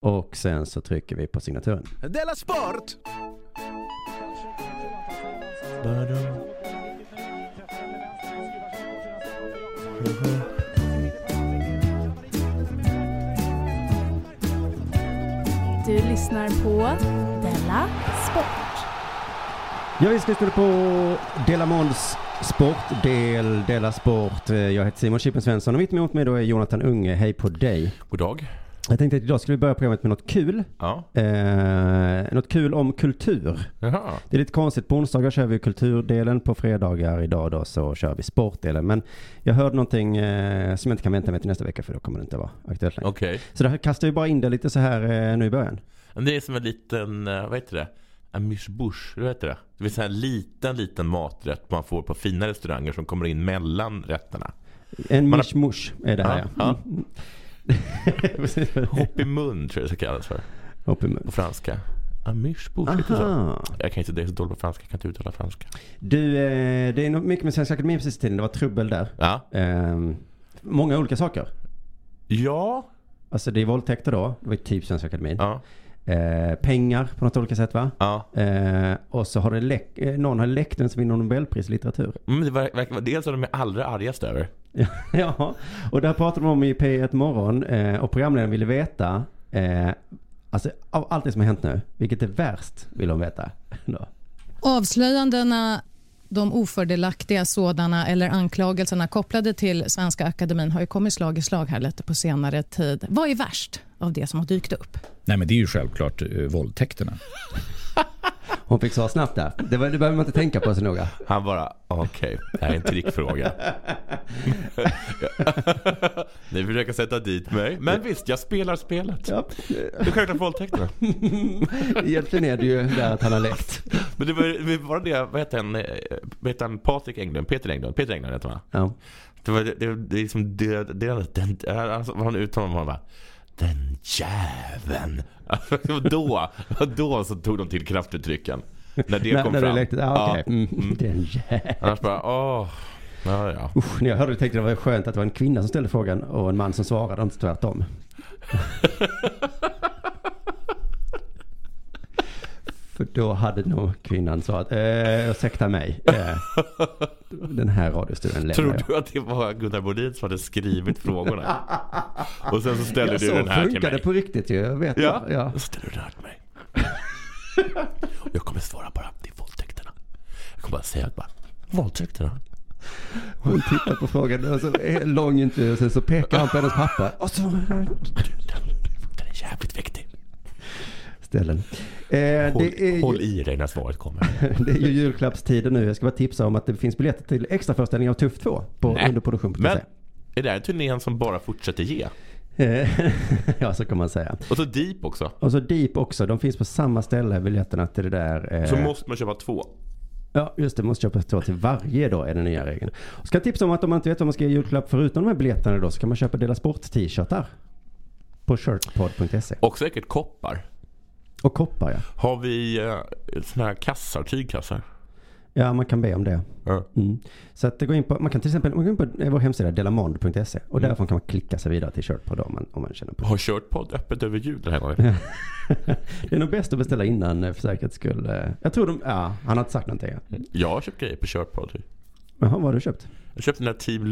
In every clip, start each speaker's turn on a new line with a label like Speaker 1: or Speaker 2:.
Speaker 1: Och sen så trycker vi på signaturen.
Speaker 2: Della Sport!
Speaker 3: Du lyssnar på Della Sport.
Speaker 1: Ja, vi ska lyssna på Dela Måns sportdel, Dela Sport. Eh, Jag heter Simon Chippen Svensson och mitt emot mig då är Jonathan Unge. Hej på dig.
Speaker 2: God dag.
Speaker 1: Jag tänkte att idag skulle vi börja programmet med något kul.
Speaker 2: Ja.
Speaker 1: Eh, något kul om kultur.
Speaker 2: Jaha.
Speaker 1: Det är lite konstigt. På onsdagar kör vi kulturdelen. På fredagar idag då så kör vi sportdelen. Men jag hörde någonting eh, som jag inte kan vänta med till nästa vecka för då kommer det inte vara aktuellt längre.
Speaker 4: Okej.
Speaker 1: Så det här kastar vi bara in det lite så här eh, nu i början.
Speaker 4: Men Det är som en liten, eh, vad heter det? Amuse-bouche, vad heter det? Det vill säga en liten, liten maträtt man får på fina restauranger som kommer in mellan rätterna.
Speaker 1: En
Speaker 4: Man har-
Speaker 1: mishmush är det här ja.
Speaker 4: Ja,
Speaker 1: Mm. Precis vad det är.
Speaker 4: Hopp i mun tror jag det ska kallas för
Speaker 1: Hopp i mun.
Speaker 4: på franska. Amuse-bouche, heter det så?
Speaker 1: Aha.
Speaker 4: Jag kan inte, det är så dåligt på franska, jag kan inte uttala franska.
Speaker 1: Du, eh, det är nog mycket med Svenska Akademien precis tiden. Det var trubbel där.
Speaker 4: Ja.
Speaker 1: Ehm, många olika saker.
Speaker 4: Ja.
Speaker 1: Alltså det är våldtäkter då. Det var ju typ Svenska Akademien.
Speaker 4: Ja.
Speaker 1: Eh, pengar på något olika sätt va?
Speaker 4: ja.
Speaker 1: Eh, och så har det läck, eh, någon har läckt den som vinner Nobelpris i litteratur.
Speaker 4: Men Mm, det verkar verkar vara dels vad de är allra argast över.
Speaker 1: ja, och det här pratade de om i P1 Morgon eh, och programledaren ville veta eh, Alltså av allt det som har hänt nu, vilket är värst vill de veta. Då.
Speaker 5: Avslöjandena, de ofördelaktiga sådana eller anklagelserna kopplade till Svenska Akademin har ju kommit slag i slag här lite på senare tid. Vad är värst av det som har dykt upp?
Speaker 6: Nej men det är ju självklart eh, våldtäkterna.
Speaker 1: Hon fick svara snabbt där. Det, var, det behöver man inte tänka på så noga.
Speaker 4: Han bara, okej, det här är en trickfråga. Ni försöker sätta dit mig. Men visst, jag spelar spelet.
Speaker 1: Ja.
Speaker 4: Det är självklart våldtäkterna.
Speaker 1: Egentligen är det ju där att han har läckt.
Speaker 4: Men det var, det var det, vad heter han, eh, vad heter han Patrik Englund? Peter Englund? Peter Englund heter han va?
Speaker 1: Ja.
Speaker 4: Det var det, det, det är liksom det, det, den, alltså, var han uttalade honom bara Den jäveln. Alltså, det var då, det var då så tog de till kraftuttrycken. När det
Speaker 1: När-
Speaker 4: kom
Speaker 1: när
Speaker 4: fram.
Speaker 1: du läckte, ja, okej. Mm. Den jä-
Speaker 4: Annars bara, åh. Ja, ja.
Speaker 1: Usch, när jag hörde det tänkte jag det var skönt att det var en kvinna som ställde frågan och en man som svarade, inte tvärtom. För då hade nog kvinnan svarat, eh, ursäkta mig. Eh, den här radiostudion lämnar
Speaker 4: Tror
Speaker 1: jag.
Speaker 4: du att det var Gunnar Bodin som hade skrivit frågorna? Och sen så ställer
Speaker 1: Ja,
Speaker 4: du
Speaker 1: så
Speaker 4: den här till
Speaker 1: funkar det
Speaker 4: mig.
Speaker 1: på riktigt ju, jag vet
Speaker 4: Ja.
Speaker 1: det. Ja.
Speaker 4: Och så ställer du den här till mig. Och jag kommer svara bara, det är våldtäkterna. Jag kommer bara säga att bara, våldtäkterna?
Speaker 1: Hon tittar på frågan, och så är det lång intervju, och sen så pekar han på hennes pappa. Och så
Speaker 4: Du, den, den är jävligt viktig.
Speaker 1: ställer den. Eh,
Speaker 4: Håll,
Speaker 1: det är ju-
Speaker 4: håll i dig när svaret kommer.
Speaker 1: Det är ju julklappstider nu. Jag ska bara tipsa om att det finns biljetter till extraföreställningar av Tuff 2 på
Speaker 4: Nej,
Speaker 1: underproduktion.se.
Speaker 4: Men är det här turnén som bara fortsätter ge?
Speaker 1: Eh, ja, så kan man säga.
Speaker 4: Och så Deep också.
Speaker 1: Och så Deep också. De finns på samma ställe, biljetterna till det där. eh,
Speaker 4: Så måste man köpa två.
Speaker 1: Ja, just det. Måste köpa två till varje då är den nya regeln. Och ska jag tipsa om att om man inte vet vad man ska ge i julklapp förutom de här biljetterna då så kan man köpa Dela Sport-t-shirtar. På shirtpod.se.
Speaker 4: Och säkert koppar.
Speaker 1: E. Och koppar ja.
Speaker 4: Har vi eh, såna här kassar, tygkassar?
Speaker 1: Ja, man kan be om det.
Speaker 4: Ja.
Speaker 1: Mm. Så att det går in på, man kan till exempel man går in på eh, vår hemsida delamond.se E.
Speaker 4: Mm.
Speaker 1: och därifrån kan man klicka sig vidare till shirtpod om man, om man känner på
Speaker 4: Har kört podd öppet över jul den här gången?
Speaker 1: Det är nog bäst att beställa innan eh, för säkerhets skull. Eh, Jag tror de, ja, han har inte sagt någonting.
Speaker 4: Jag har köpt grejer på kört podd.
Speaker 1: Jaha, vad har du köpt?
Speaker 4: Jag köpte den där Team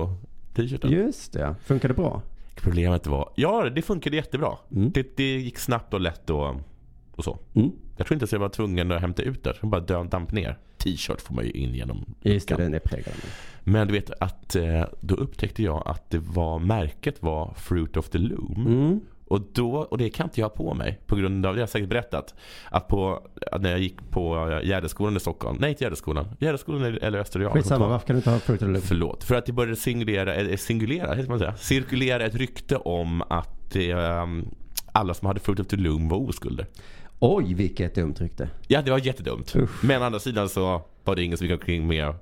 Speaker 4: Lullo-t-shirten.
Speaker 1: Just det, ja. funkar det bra?
Speaker 4: Problemet var, ja det funkade jättebra.
Speaker 1: Mm.
Speaker 4: Det, det gick snabbt och lätt och, och så.
Speaker 1: Mm.
Speaker 4: Jag tror inte ens jag var tvungen att hämta ut det. Jag bara dö- damp ner. T-shirt får man ju in genom
Speaker 1: Just det,
Speaker 4: luckan.
Speaker 1: den är präglad. av mig.
Speaker 4: Men du vet att eh, då upptäckte jag att det var, märket var Fruit of the Loom.
Speaker 1: Mm.
Speaker 4: Och, då, och det kan inte jag ha på mig på grund av, det har jag säkert berättat, att, på, att när jag gick på Gärdeskolan i Stockholm, nej inte Gärdeskolan, Gärdeskolan eller- eller Österreal.
Speaker 1: Skitsamma, varför kan du inte ha Fruit of the Loom?
Speaker 4: Förlåt, för att det började singulera, eller singulera heter man säga, cirkulera ett rykte om att eh, alla som hade Fruit of the Loom var oskulder.
Speaker 1: Oj, vilket dumt rykte.
Speaker 4: Ja, det var jättedumt.
Speaker 1: Usch.
Speaker 4: Men å andra sidan så var det ingen som gick omkring med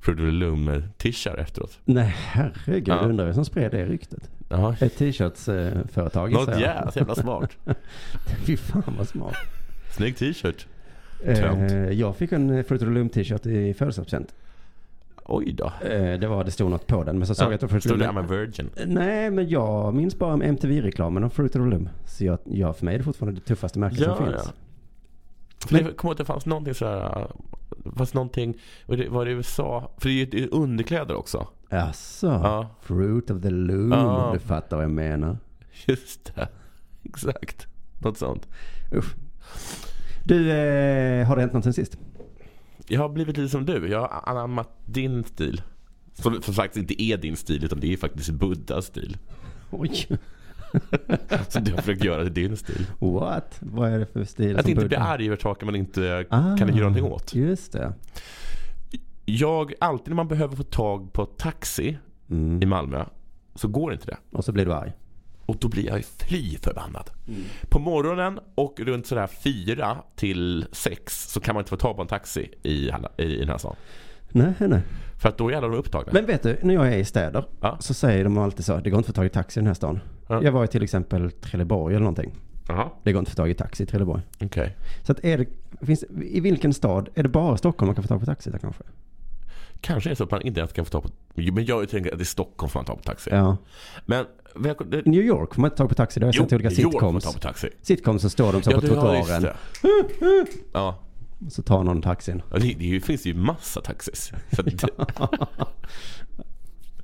Speaker 4: Fruit of the Loom-t-shirt efteråt.
Speaker 1: Nej, herregud.
Speaker 4: Ja.
Speaker 1: Undrar vem som spred det ryktet.
Speaker 4: Ja.
Speaker 1: Ett t-shirtsföretag
Speaker 4: Något jävla, så jävla smart.
Speaker 1: Fy fan vad smart.
Speaker 4: Snygg t-shirt.
Speaker 1: Eh,
Speaker 4: Tönt.
Speaker 1: jag fick en eh, Fruit of the Loom t-shirt i födelsedagspresent.
Speaker 4: Oj då. Mm.
Speaker 1: Eh, Det var, det stod något på den. Men så såg jag att det först...
Speaker 4: Stod det I'm a virgin?
Speaker 1: Nej, men jag minns bara om MTV-reklamen om Fruit of the Loom. Så jag, ja, för mig är det fortfarande det tuffaste märket
Speaker 4: Ja,
Speaker 1: som
Speaker 4: ja.
Speaker 1: finns.
Speaker 4: För det, kom ihåg att det fanns någonting sådär. Det fanns någonting. och det- Var det i USA? För det är ju det är underkläder också.
Speaker 1: Jaså?
Speaker 4: Ja.
Speaker 1: Fruit of the Loom,
Speaker 4: Ja.
Speaker 1: om du fattar vad jag menar.
Speaker 4: Just det. Exakt. Något sånt.
Speaker 1: Usch. Du, eh, har det hänt något sen sist?
Speaker 4: Jag har blivit lite som du. Jag har anammat din stil. Som, som faktiskt inte är din stil utan det är faktiskt Buddhas stil.
Speaker 1: Oj,
Speaker 4: Så du har försökt göra till din stil.
Speaker 1: what? Vad är det för stil
Speaker 4: Att
Speaker 1: som
Speaker 4: inte
Speaker 1: Buddha-
Speaker 4: bli arg över saker man inte
Speaker 1: Ah,
Speaker 4: kan göra någonting åt.
Speaker 1: Just det.
Speaker 4: Jag, alltid när man behöver få tag på taxi i
Speaker 1: Mm.
Speaker 4: Malmö så går inte det.
Speaker 1: Och så blir du arg.
Speaker 4: Och då blir jag ju fly förbannad. På morgonen och runt sådär fyra till sex så kan man inte få tag på en taxi i, alla- i, i den här stan.
Speaker 1: Nej, nej.
Speaker 4: För att då är alla de upptagna.
Speaker 1: Men vet du, när jag är i städer
Speaker 4: Ja.
Speaker 1: så säger de alltid så. Det går inte att få tag i taxi i den här stan.
Speaker 4: Ja.
Speaker 1: Jag var i till exempel Trelleborg eller någonting.
Speaker 4: Jaha,
Speaker 1: Det går inte att få tag i taxi i Trelleborg.
Speaker 4: okej.
Speaker 1: Så att är det, finns, i vilken stad, är det bara Stockholm man kan få tag på taxi där kanske?
Speaker 4: Kanske är det så att man inte ens kan få tag på... Jo, Men jag tänker att det är Stockholm som man tar på taxi.
Speaker 1: Ja.
Speaker 4: Men välkommen... det-
Speaker 1: New York får man inte tag på taxi. Det har jag
Speaker 4: Jo,
Speaker 1: sett till olika
Speaker 4: i år får man
Speaker 1: sitcoms.
Speaker 4: ta på taxi.
Speaker 1: Sitcoms så står de så på
Speaker 4: du har just
Speaker 1: trottoaren.
Speaker 4: det. Ja,
Speaker 1: Och så tar någon taxin.
Speaker 4: Ja, det, det finns ju massa taxis. Så att,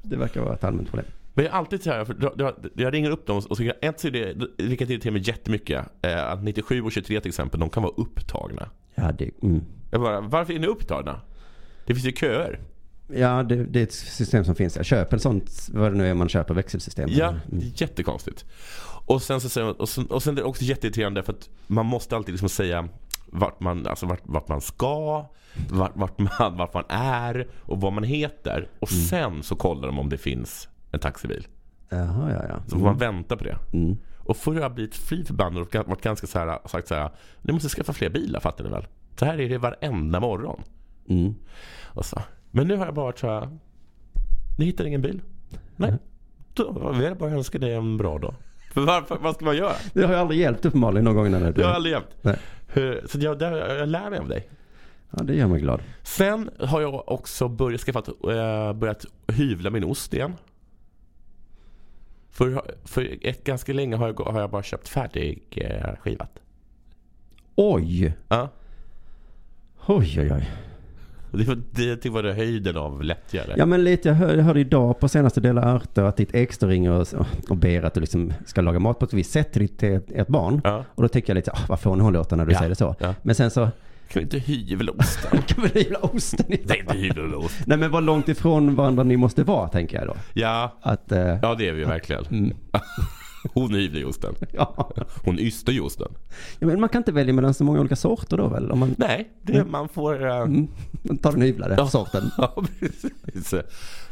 Speaker 1: Det verkar vara ett allmänt problem.
Speaker 4: Men jag är alltid så här, för jag, jag, jag ringer upp dem och så ett så är det, vilket irriterar mig jättemycket, eh, att 97 och 23 till exempel, de kan vara upptagna.
Speaker 1: Ja, det, mm.
Speaker 4: Jag bara, varför är ni upptagna? Det finns ju köer.
Speaker 1: ja det, det är ett system som finns. Jag köper en sånt, vad det nu är man köper, växelsystem.
Speaker 4: Ja, det
Speaker 1: Mm.
Speaker 4: är jättekonstigt. Och sen, så säger, man- och sen, och sen är det också jätteirriterande för att man måste alltid liksom säga vart man, alltså vart, vart man ska, vart, vart, man, vart man är och vad man heter. Och
Speaker 1: Mm.
Speaker 4: sen så kollar de om det finns en taxibil.
Speaker 1: Jaha, ja, ja.
Speaker 4: Så får man vänta på det.
Speaker 1: Mm.
Speaker 4: Och förr har jag blivit fly förbannad och varit ganska så här, sagt så här. Ni måste skaffa fler bilar fattar ni väl? Så här är det varenda morgon.
Speaker 1: Mm.
Speaker 4: Och så. Alltså. Men nu har jag bara varit så här. Ni hittar ingen bil? Nej. Då vill jag bara önska dig en bra dag. För varför, vad ska man göra?
Speaker 1: Det har ju aldrig hjälpt uppenbarligen någon gång. När det,
Speaker 4: Det har jag aldrig jämt.
Speaker 1: Nej.
Speaker 4: Hur- Så jag, där, jag lär mig av dig.
Speaker 1: Ja, det gör mig glad.
Speaker 4: Sen har jag också börjat, skaffat, eh, börjat hyvla min ost igen. För, för ett, ganska länge har jag, har jag bara köpt färdig eh, skivat.
Speaker 1: Oj!
Speaker 4: Ja.
Speaker 1: Oj, oj, oj.
Speaker 4: Och Det var, det tyckte jag var höjden av lättgöra.
Speaker 1: Ja men lite, jag hör- jag hörde idag på senaste Dela Arte att ditt ex då ringer och, och ber att du liksom ska laga mat på ett visst sätt till ditt till ett barn.
Speaker 4: Ja.
Speaker 1: Och då tänker jag lite, ah, vad fånig hon låter när du
Speaker 4: Ja,
Speaker 1: säger det så.
Speaker 4: ja.
Speaker 1: Men sen så,
Speaker 4: Kan vi inte hyvla osten?
Speaker 1: kan vi hyvla osten i
Speaker 4: Nej, inte hyvla ost.
Speaker 1: Nej men vad långt ifrån varandra ni måste vara tänker jag då.
Speaker 4: Ja,
Speaker 1: Att, eh,
Speaker 4: ja det är vi ju verkligen.
Speaker 1: Mm.
Speaker 4: Hon hyvlar ju osten.
Speaker 1: ja.
Speaker 4: Hon ystar ju osten.
Speaker 1: ja. Men man kan inte välja mellan så många olika sorter då väl? Om man
Speaker 4: Nej, det, man får... eh,
Speaker 1: man tar den hyvlade
Speaker 4: Ja.
Speaker 1: sorten.
Speaker 4: Ja, precis.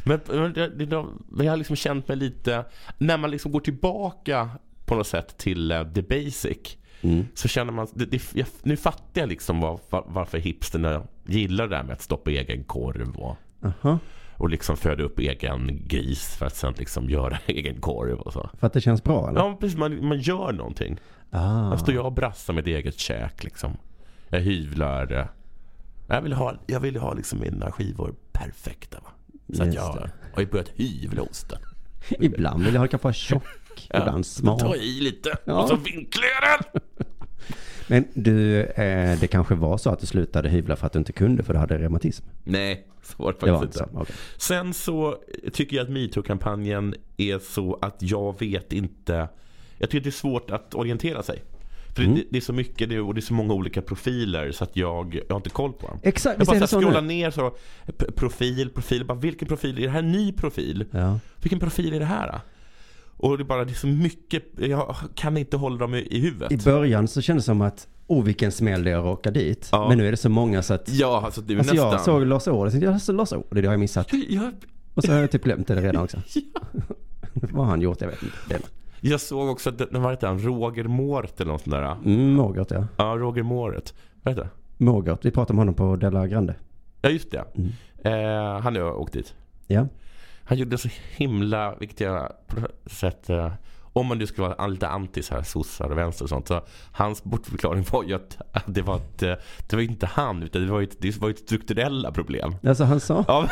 Speaker 4: Men, men, det- det- men jag har liksom känt mig lite... När man liksom går tillbaka på något sätt till eh, the basic.
Speaker 1: Mm.
Speaker 4: Så känner man, det, det, jag, nu fattar jag liksom var, var, varför hipsterna gillar det här med att stoppa egen korv och,
Speaker 1: Aha.
Speaker 4: och liksom föda upp egen gris för att sen liksom göra egen korv och så.
Speaker 1: För att det känns bra eller?
Speaker 4: Ja, men precis. Man, man gör någonting.
Speaker 1: Ah.
Speaker 4: Här står jag och brassar mitt eget käk liksom. Jag hyvlar. eh, Jag vill ha, jag vill ha liksom mina skivor perfekta. Va? Så att
Speaker 1: Just
Speaker 4: jag har, har ju börjat hyvla osten.
Speaker 1: Ibland vill jag ha kanske tjock, ibland
Speaker 4: Då
Speaker 1: smal.
Speaker 4: tar jag i lite
Speaker 1: Ja.
Speaker 4: och så vinklar jag den.
Speaker 1: Men du, eh, det kanske var så att du slutade hyvla för att du inte kunde för du hade reumatism?
Speaker 4: Nej, så var det
Speaker 1: Det
Speaker 4: faktiskt
Speaker 1: var inte
Speaker 4: inte.
Speaker 1: så? Okej.
Speaker 4: Sen så tycker jag att metoo-kampanjen är så att jag vet inte. Jag tycker det är svårt att orientera sig. För det, det är så mycket det, och det är så många olika profiler så att jag, jag har inte koll på dem.
Speaker 1: Exakt,
Speaker 4: Jag
Speaker 1: visst är
Speaker 4: bara
Speaker 1: det
Speaker 4: så
Speaker 1: så
Speaker 4: här scrollar
Speaker 1: nu?
Speaker 4: ner så, p- profil, profil, bara vilken profil, är det här en ny profil?
Speaker 1: Ja.
Speaker 4: Vilken profil är det här? då? Och det är bara, det är så mycket, jag kan inte hålla dem i, i huvudet.
Speaker 1: I början så kändes det som att, oh vilken smäll det jag råkar dit.
Speaker 4: Ja.
Speaker 1: Men nu är det så många så att,
Speaker 4: ja, alltså du är
Speaker 1: alltså
Speaker 4: nästan...
Speaker 1: jag såg Lars Ohly och tänkte, ja så Lars Ohly, det har jag missat.
Speaker 4: jag, jag,
Speaker 1: Och så har jag typ glömt det redan också. Vad har han gjort? Jag vet inte. Det-
Speaker 4: jag såg också, att det, det var inte han, Roger Måret eller något sånt där.
Speaker 1: Mm, Mogert ja.
Speaker 4: Ja, Roger Måret. Vad heter det?
Speaker 1: Mogert, vi pratade om honom på Della Grande. Mm.
Speaker 4: Ja, just det. Eh, han har jag åkt dit.
Speaker 1: Ja.
Speaker 4: Han gjorde så himla, vilket jag på något sätt eh, Om man nu skulle vara lite anti så här sossar och vänster och sånt. Så hans bortförklaring var ju att, att det var ett, eh, det var inte han utan det var ju ett, det var ju ett strukturella problem.
Speaker 1: Alltså han sa?
Speaker 4: Ja,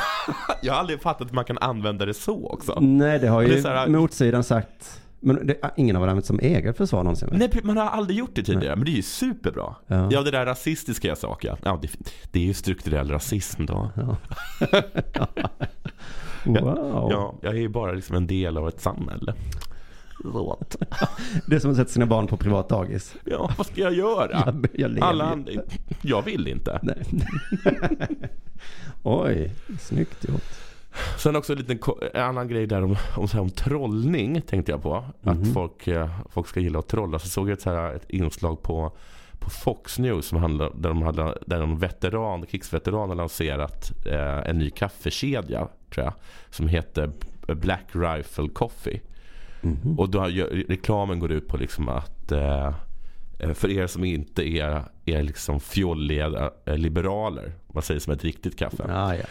Speaker 4: jag har aldrig fattat att man kan använda det så också.
Speaker 1: Nej, det har ju
Speaker 4: Det är så här-
Speaker 1: motsidan sagt. Men det, ingen har väl använt som eget försvar någonsin? va?
Speaker 4: Nej, man har aldrig gjort det tidigare. Men det är ju superbra.
Speaker 1: Ja.
Speaker 4: Ja, det där rasistiska jag sa. Ja, Ja, det, det är ju strukturell rasism då.
Speaker 1: Wow.
Speaker 4: Ja, jag är ju bara liksom en del av ett samhälle. Låt.
Speaker 1: Det är som att sätta sina barn på privatdagis.
Speaker 4: Ja, vad ska jag göra?
Speaker 1: Jag, jag lever
Speaker 4: Alla
Speaker 1: ju.
Speaker 4: andra, jag vill inte.
Speaker 1: Nej. Oj, snyggt gjort.
Speaker 4: Sen också en liten ko- en annan grej där om, om, så här, om trollning tänkte jag på.
Speaker 1: Mhm.
Speaker 4: Att folk, eh, folk ska gilla att trolla. Så såg jag ett, så här, ett inslag på, på Fox News som handlar, där de hade där en veteran, krigsveteran har lanserat eh, en ny kaffekedja tror jag. Som heter B- Black Rifle Coffee.
Speaker 1: Mm-hmm.
Speaker 4: Och då har, ju- reklamen går ut på liksom att eh, Eh, För er som inte är, är liksom fjolliga eh, liberaler. Man säger som ett riktigt kaffe.
Speaker 1: Ja, ja.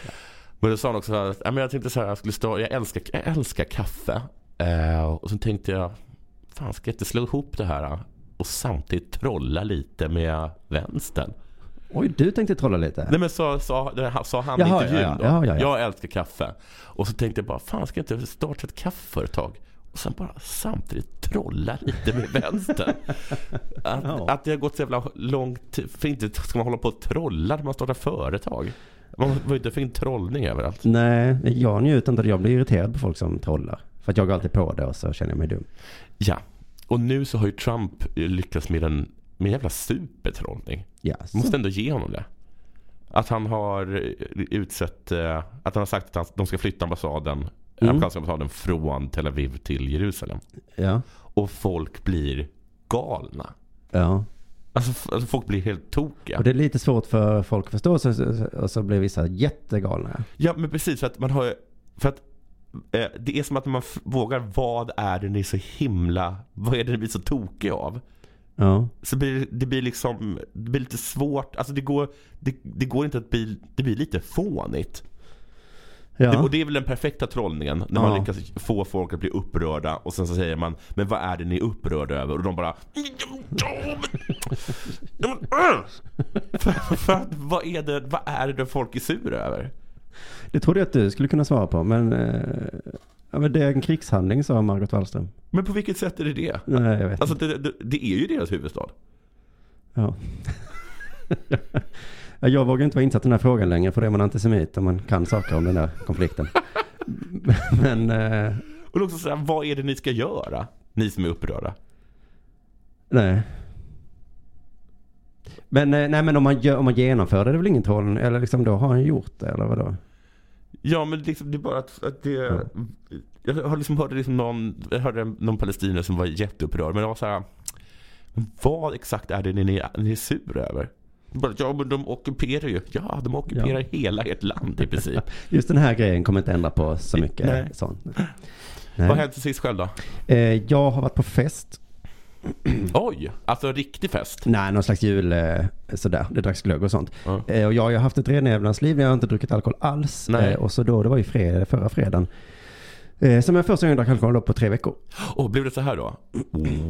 Speaker 4: Men då sa han också så här, att, "Ja, men jag tänkte så här, jag, skulle stå, jag, älskar, jag älskar kaffe. Eh, och så tänkte jag, fan ska jag inte slå ihop det här eh, och samtidigt trolla lite med vänstern?
Speaker 1: Oj, du tänkte trolla lite?
Speaker 4: Nej men sa, sa, det här- sa han i
Speaker 1: Jaha,
Speaker 4: intervjun
Speaker 1: ja, ja.
Speaker 4: då.
Speaker 1: Ja, ja, ja.
Speaker 4: Jag älskar kaffe. Och så tänkte jag bara, fan ska jag inte starta ett kaffeföretag? Och sen bara samtidigt trolla lite med vänstern. att,
Speaker 1: Ja.
Speaker 4: att det har gått så jävla långt. För inte ska man hålla på och trolla när man startar företag. Man var ju inte för en trollning överallt.
Speaker 1: Nej, jag njuter inte. Jag blir irriterad på folk som trollar. För att jag går alltid på det och så känner jag mig dum.
Speaker 4: Ja. Och nu så har ju Trump eh, lyckats med en, med en jävla supertrollning.
Speaker 1: Ja,
Speaker 4: Jag måste ändå ge honom det. Att han har eh, utsett, eh, att han har sagt att han, de ska flytta ambassaden,
Speaker 1: Mm.
Speaker 4: amerikanska ambassaden från Tel Aviv till Jerusalem.
Speaker 1: ja.
Speaker 4: Och folk blir galna.
Speaker 1: ja.
Speaker 4: Alltså, f- alltså folk blir helt tokiga.
Speaker 1: Och det är lite svårt för folk att förstå. Så, så, och så blir vissa jättegalna.
Speaker 4: Ja men precis för att man har ju- för att eh, det är som att man f- vågar, vad är det ni är så himla, vad är det ni blir så tokiga av?
Speaker 1: Ja.
Speaker 4: Så blir det- det blir liksom, det blir lite svårt, alltså det går, det, det går inte att bli, det blir lite fånigt. Det,
Speaker 1: Ja.
Speaker 4: och det är väl den perfekta trollningen, när
Speaker 1: Ja.
Speaker 4: man lyckas få folk att bli upprörda och sen så säger man Men vad är det ni är upprörda över? Och de bara för, för att vad är det, vad är det folk är sura över?
Speaker 1: Det trodde jag att du skulle kunna svara på. Men, eh, ja, men det är en krigshandling sa Margot Wallström.
Speaker 4: Men på vilket sätt är det det?
Speaker 1: Nej, jag vet
Speaker 4: Alltså det, det, det är ju deras huvudstad.
Speaker 1: Ja. Ja, jag vågar inte vara insatt i den här frågan längre för då är man antisemit om man kan saker om den här konflikten. Men eh,
Speaker 4: Och också så här, vad är det ni ska göra? Ni som är upprörda.
Speaker 1: nej. Men, eh, nej, men om, man gör, om man genomför det, det är väl ingen troll? Eller liksom då har han gjort det eller vadå?
Speaker 4: Ja men liksom, det är bara att, att det Jag har liksom hörde liksom någon, jag hörde någon palestinier som var jätteupprörd men jag var så här. Vad exakt är det ni, ni, ni är sur över? Bara, ja men de ockuperar ju. Ja de ockuperar hela ert land i princip.
Speaker 1: Just den här grejen kommer inte ändra på så mycket
Speaker 4: Nej.
Speaker 1: sånt.
Speaker 4: Vad
Speaker 1: Nej.
Speaker 4: hände sist själv då?
Speaker 1: Eh, jag har varit på fest.
Speaker 4: Oj! Alltså en riktig fest.
Speaker 1: Nej, någon slags jul eh, sådär. Det dracks glögg och sånt.
Speaker 4: Ja.
Speaker 1: Eh, och jag har ju haft ett renävlans liv. Jag har inte druckit alkohol alls.
Speaker 4: Nej.
Speaker 1: Eh, och så då, det var ju fred, förra fredagen. Eh, som jag första gången drack alkohol då på tre veckor.
Speaker 4: Och blev det så här då?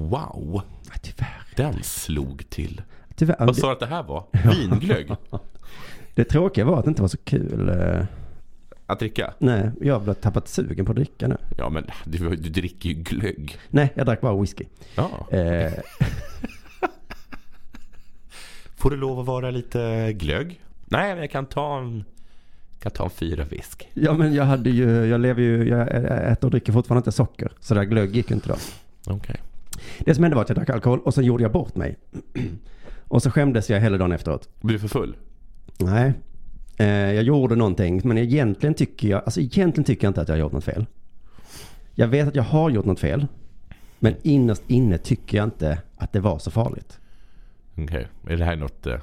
Speaker 4: Wow!
Speaker 1: Ja, Tyvärr.
Speaker 4: Den slog till.
Speaker 1: Tyvärr.
Speaker 4: Vad
Speaker 1: Det,
Speaker 4: sa du att det här var? Vinglögg?
Speaker 1: det tråkiga var att det inte var så kul. Eh,
Speaker 4: Att dricka?
Speaker 1: nej, jag har tappat sugen på att dricka nu.
Speaker 4: Ja men du, du dricker ju glögg.
Speaker 1: Nej, jag drack bara whisky.
Speaker 4: Ja.
Speaker 1: Eh,
Speaker 4: Får det lov att vara lite glögg? Nej, men jag kan ta en, kan ta en fyra visk.
Speaker 1: ja, men jag hade ju, jag lever ju, jag ä- äter och dricker fortfarande inte socker. Så där glögg gick ju inte då.
Speaker 4: Okej.
Speaker 1: Det som hände var att jag drack alkohol och sen gjorde jag bort mig. och så skämdes jag hela dagen efteråt.
Speaker 4: Blir du för full?
Speaker 1: Nej. Eh, jag gjorde någonting, men egentligen tycker jag, alltså egentligen tycker jag inte att jag har gjort något fel. Jag vet att jag har gjort något fel, men innerst inne tycker jag inte att det var så farligt.
Speaker 4: Okej. Är det här något... eh,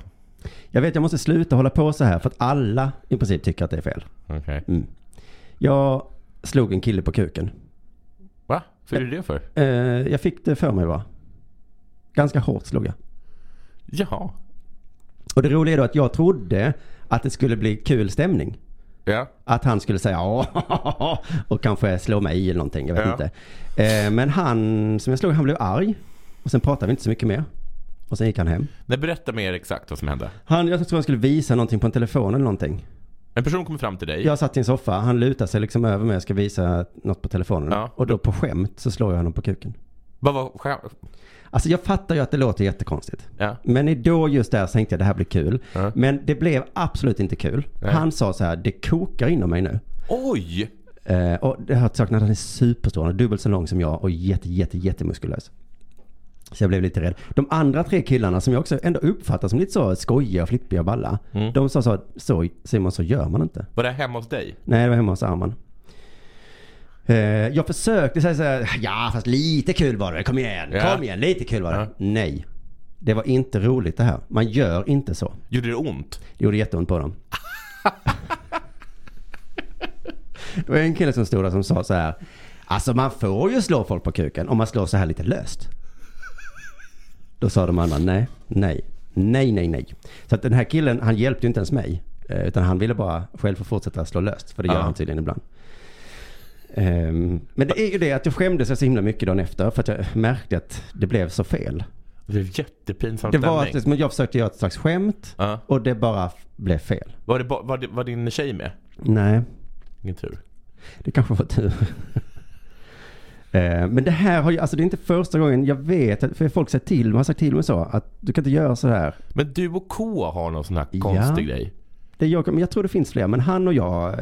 Speaker 1: Jag vet jag måste sluta hålla på så här för att alla i princip tycker att det är fel.
Speaker 4: Okej.
Speaker 1: Mm. Jag slog en kille på kuken.
Speaker 4: Va? Vad är det det för?
Speaker 1: Eh, jag fick det för mig va? Ganska hårt slog jag.
Speaker 4: Jaha.
Speaker 1: Och det roliga är då att jag trodde att det skulle bli kul stämning.
Speaker 4: Ja.
Speaker 1: Att han skulle säga ja och kanske slå mig eller någonting. Jag vet
Speaker 4: Ja.
Speaker 1: inte. Eh, men han som jag slog, han blev arg. Och sen pratade vi inte så mycket mer. Och sen gick han hem.
Speaker 4: Nej, berätta mer exakt vad som hände.
Speaker 1: Han, jag tror han skulle visa någonting på en telefon eller någonting.
Speaker 4: En person kommer fram till dig.
Speaker 1: Jag satt i en soffa, han lutar sig liksom över mig och ska visa något på telefonen.
Speaker 4: Ja.
Speaker 1: Och då på skämt så slår jag honom på kuken.
Speaker 4: Vad var skämt?
Speaker 1: Alltså jag fattar ju att det låter jättekonstigt.
Speaker 4: Ja.
Speaker 1: Men i- då just där så tänkte jag det här blir kul.
Speaker 4: Ja.
Speaker 1: Men det blev absolut inte kul.
Speaker 4: Nej.
Speaker 1: Han sa så här, det kokar inom mig nu.
Speaker 4: Oj!
Speaker 1: Eh, och det har jag sagt när han är superstor, han är dubbelt så lång som jag och jätte, jätte, jättemuskulös. Så jag blev lite rädd. De andra tre killarna som jag också ändå uppfattar som lite så skojiga och flippiga och balla.
Speaker 4: Mm.
Speaker 1: De sa så, så Simon så gör man inte.
Speaker 4: Var det här hemma hos dig?
Speaker 1: Nej, det var hemma hos Arman. Eh, jag försökte säga så här, ja fast lite kul var det, kom igen,
Speaker 4: Ja.
Speaker 1: kom igen, lite kul var det.
Speaker 4: Ja.
Speaker 1: Nej, det var inte roligt det här. Man gör inte så.
Speaker 4: Gjorde det ont?
Speaker 1: Det gjorde jätteont på dem. det var en kille som stod där som sa så här, alltså man får ju slå folk på kuken om man slår så här lite löst. Då sa de andra nej, nej, nej, nej, nej. Så att den här killen, han hjälpte ju inte ens mig. eh, Utan han ville bara själv få fortsätta slå löst. För det gör
Speaker 4: Ja.
Speaker 1: han tydligen ibland. Ehm, men det är ju det att jag skämdes så himla mycket dagen efter. För att jag märkte att det blev så fel.
Speaker 4: Det blev jättepinsam
Speaker 1: Det var
Speaker 4: stämning.
Speaker 1: att men jag försökte göra ett slags skämt.
Speaker 4: Ja.
Speaker 1: Och det bara f- blev fel.
Speaker 4: Var, det, ba- var, det, var din tjej med?
Speaker 1: Nej,
Speaker 4: Ingen tur.
Speaker 1: det kanske var tur. Eh, Men det här har ju, alltså det är inte första gången jag vet, att- för folk säger till mig, har sagt till mig så att du kan inte göra så här.
Speaker 4: Men du och K har någon sån här
Speaker 1: Ja.
Speaker 4: konstig grej.
Speaker 1: Det jag, men jag tror det finns fler, men han och jag, eh,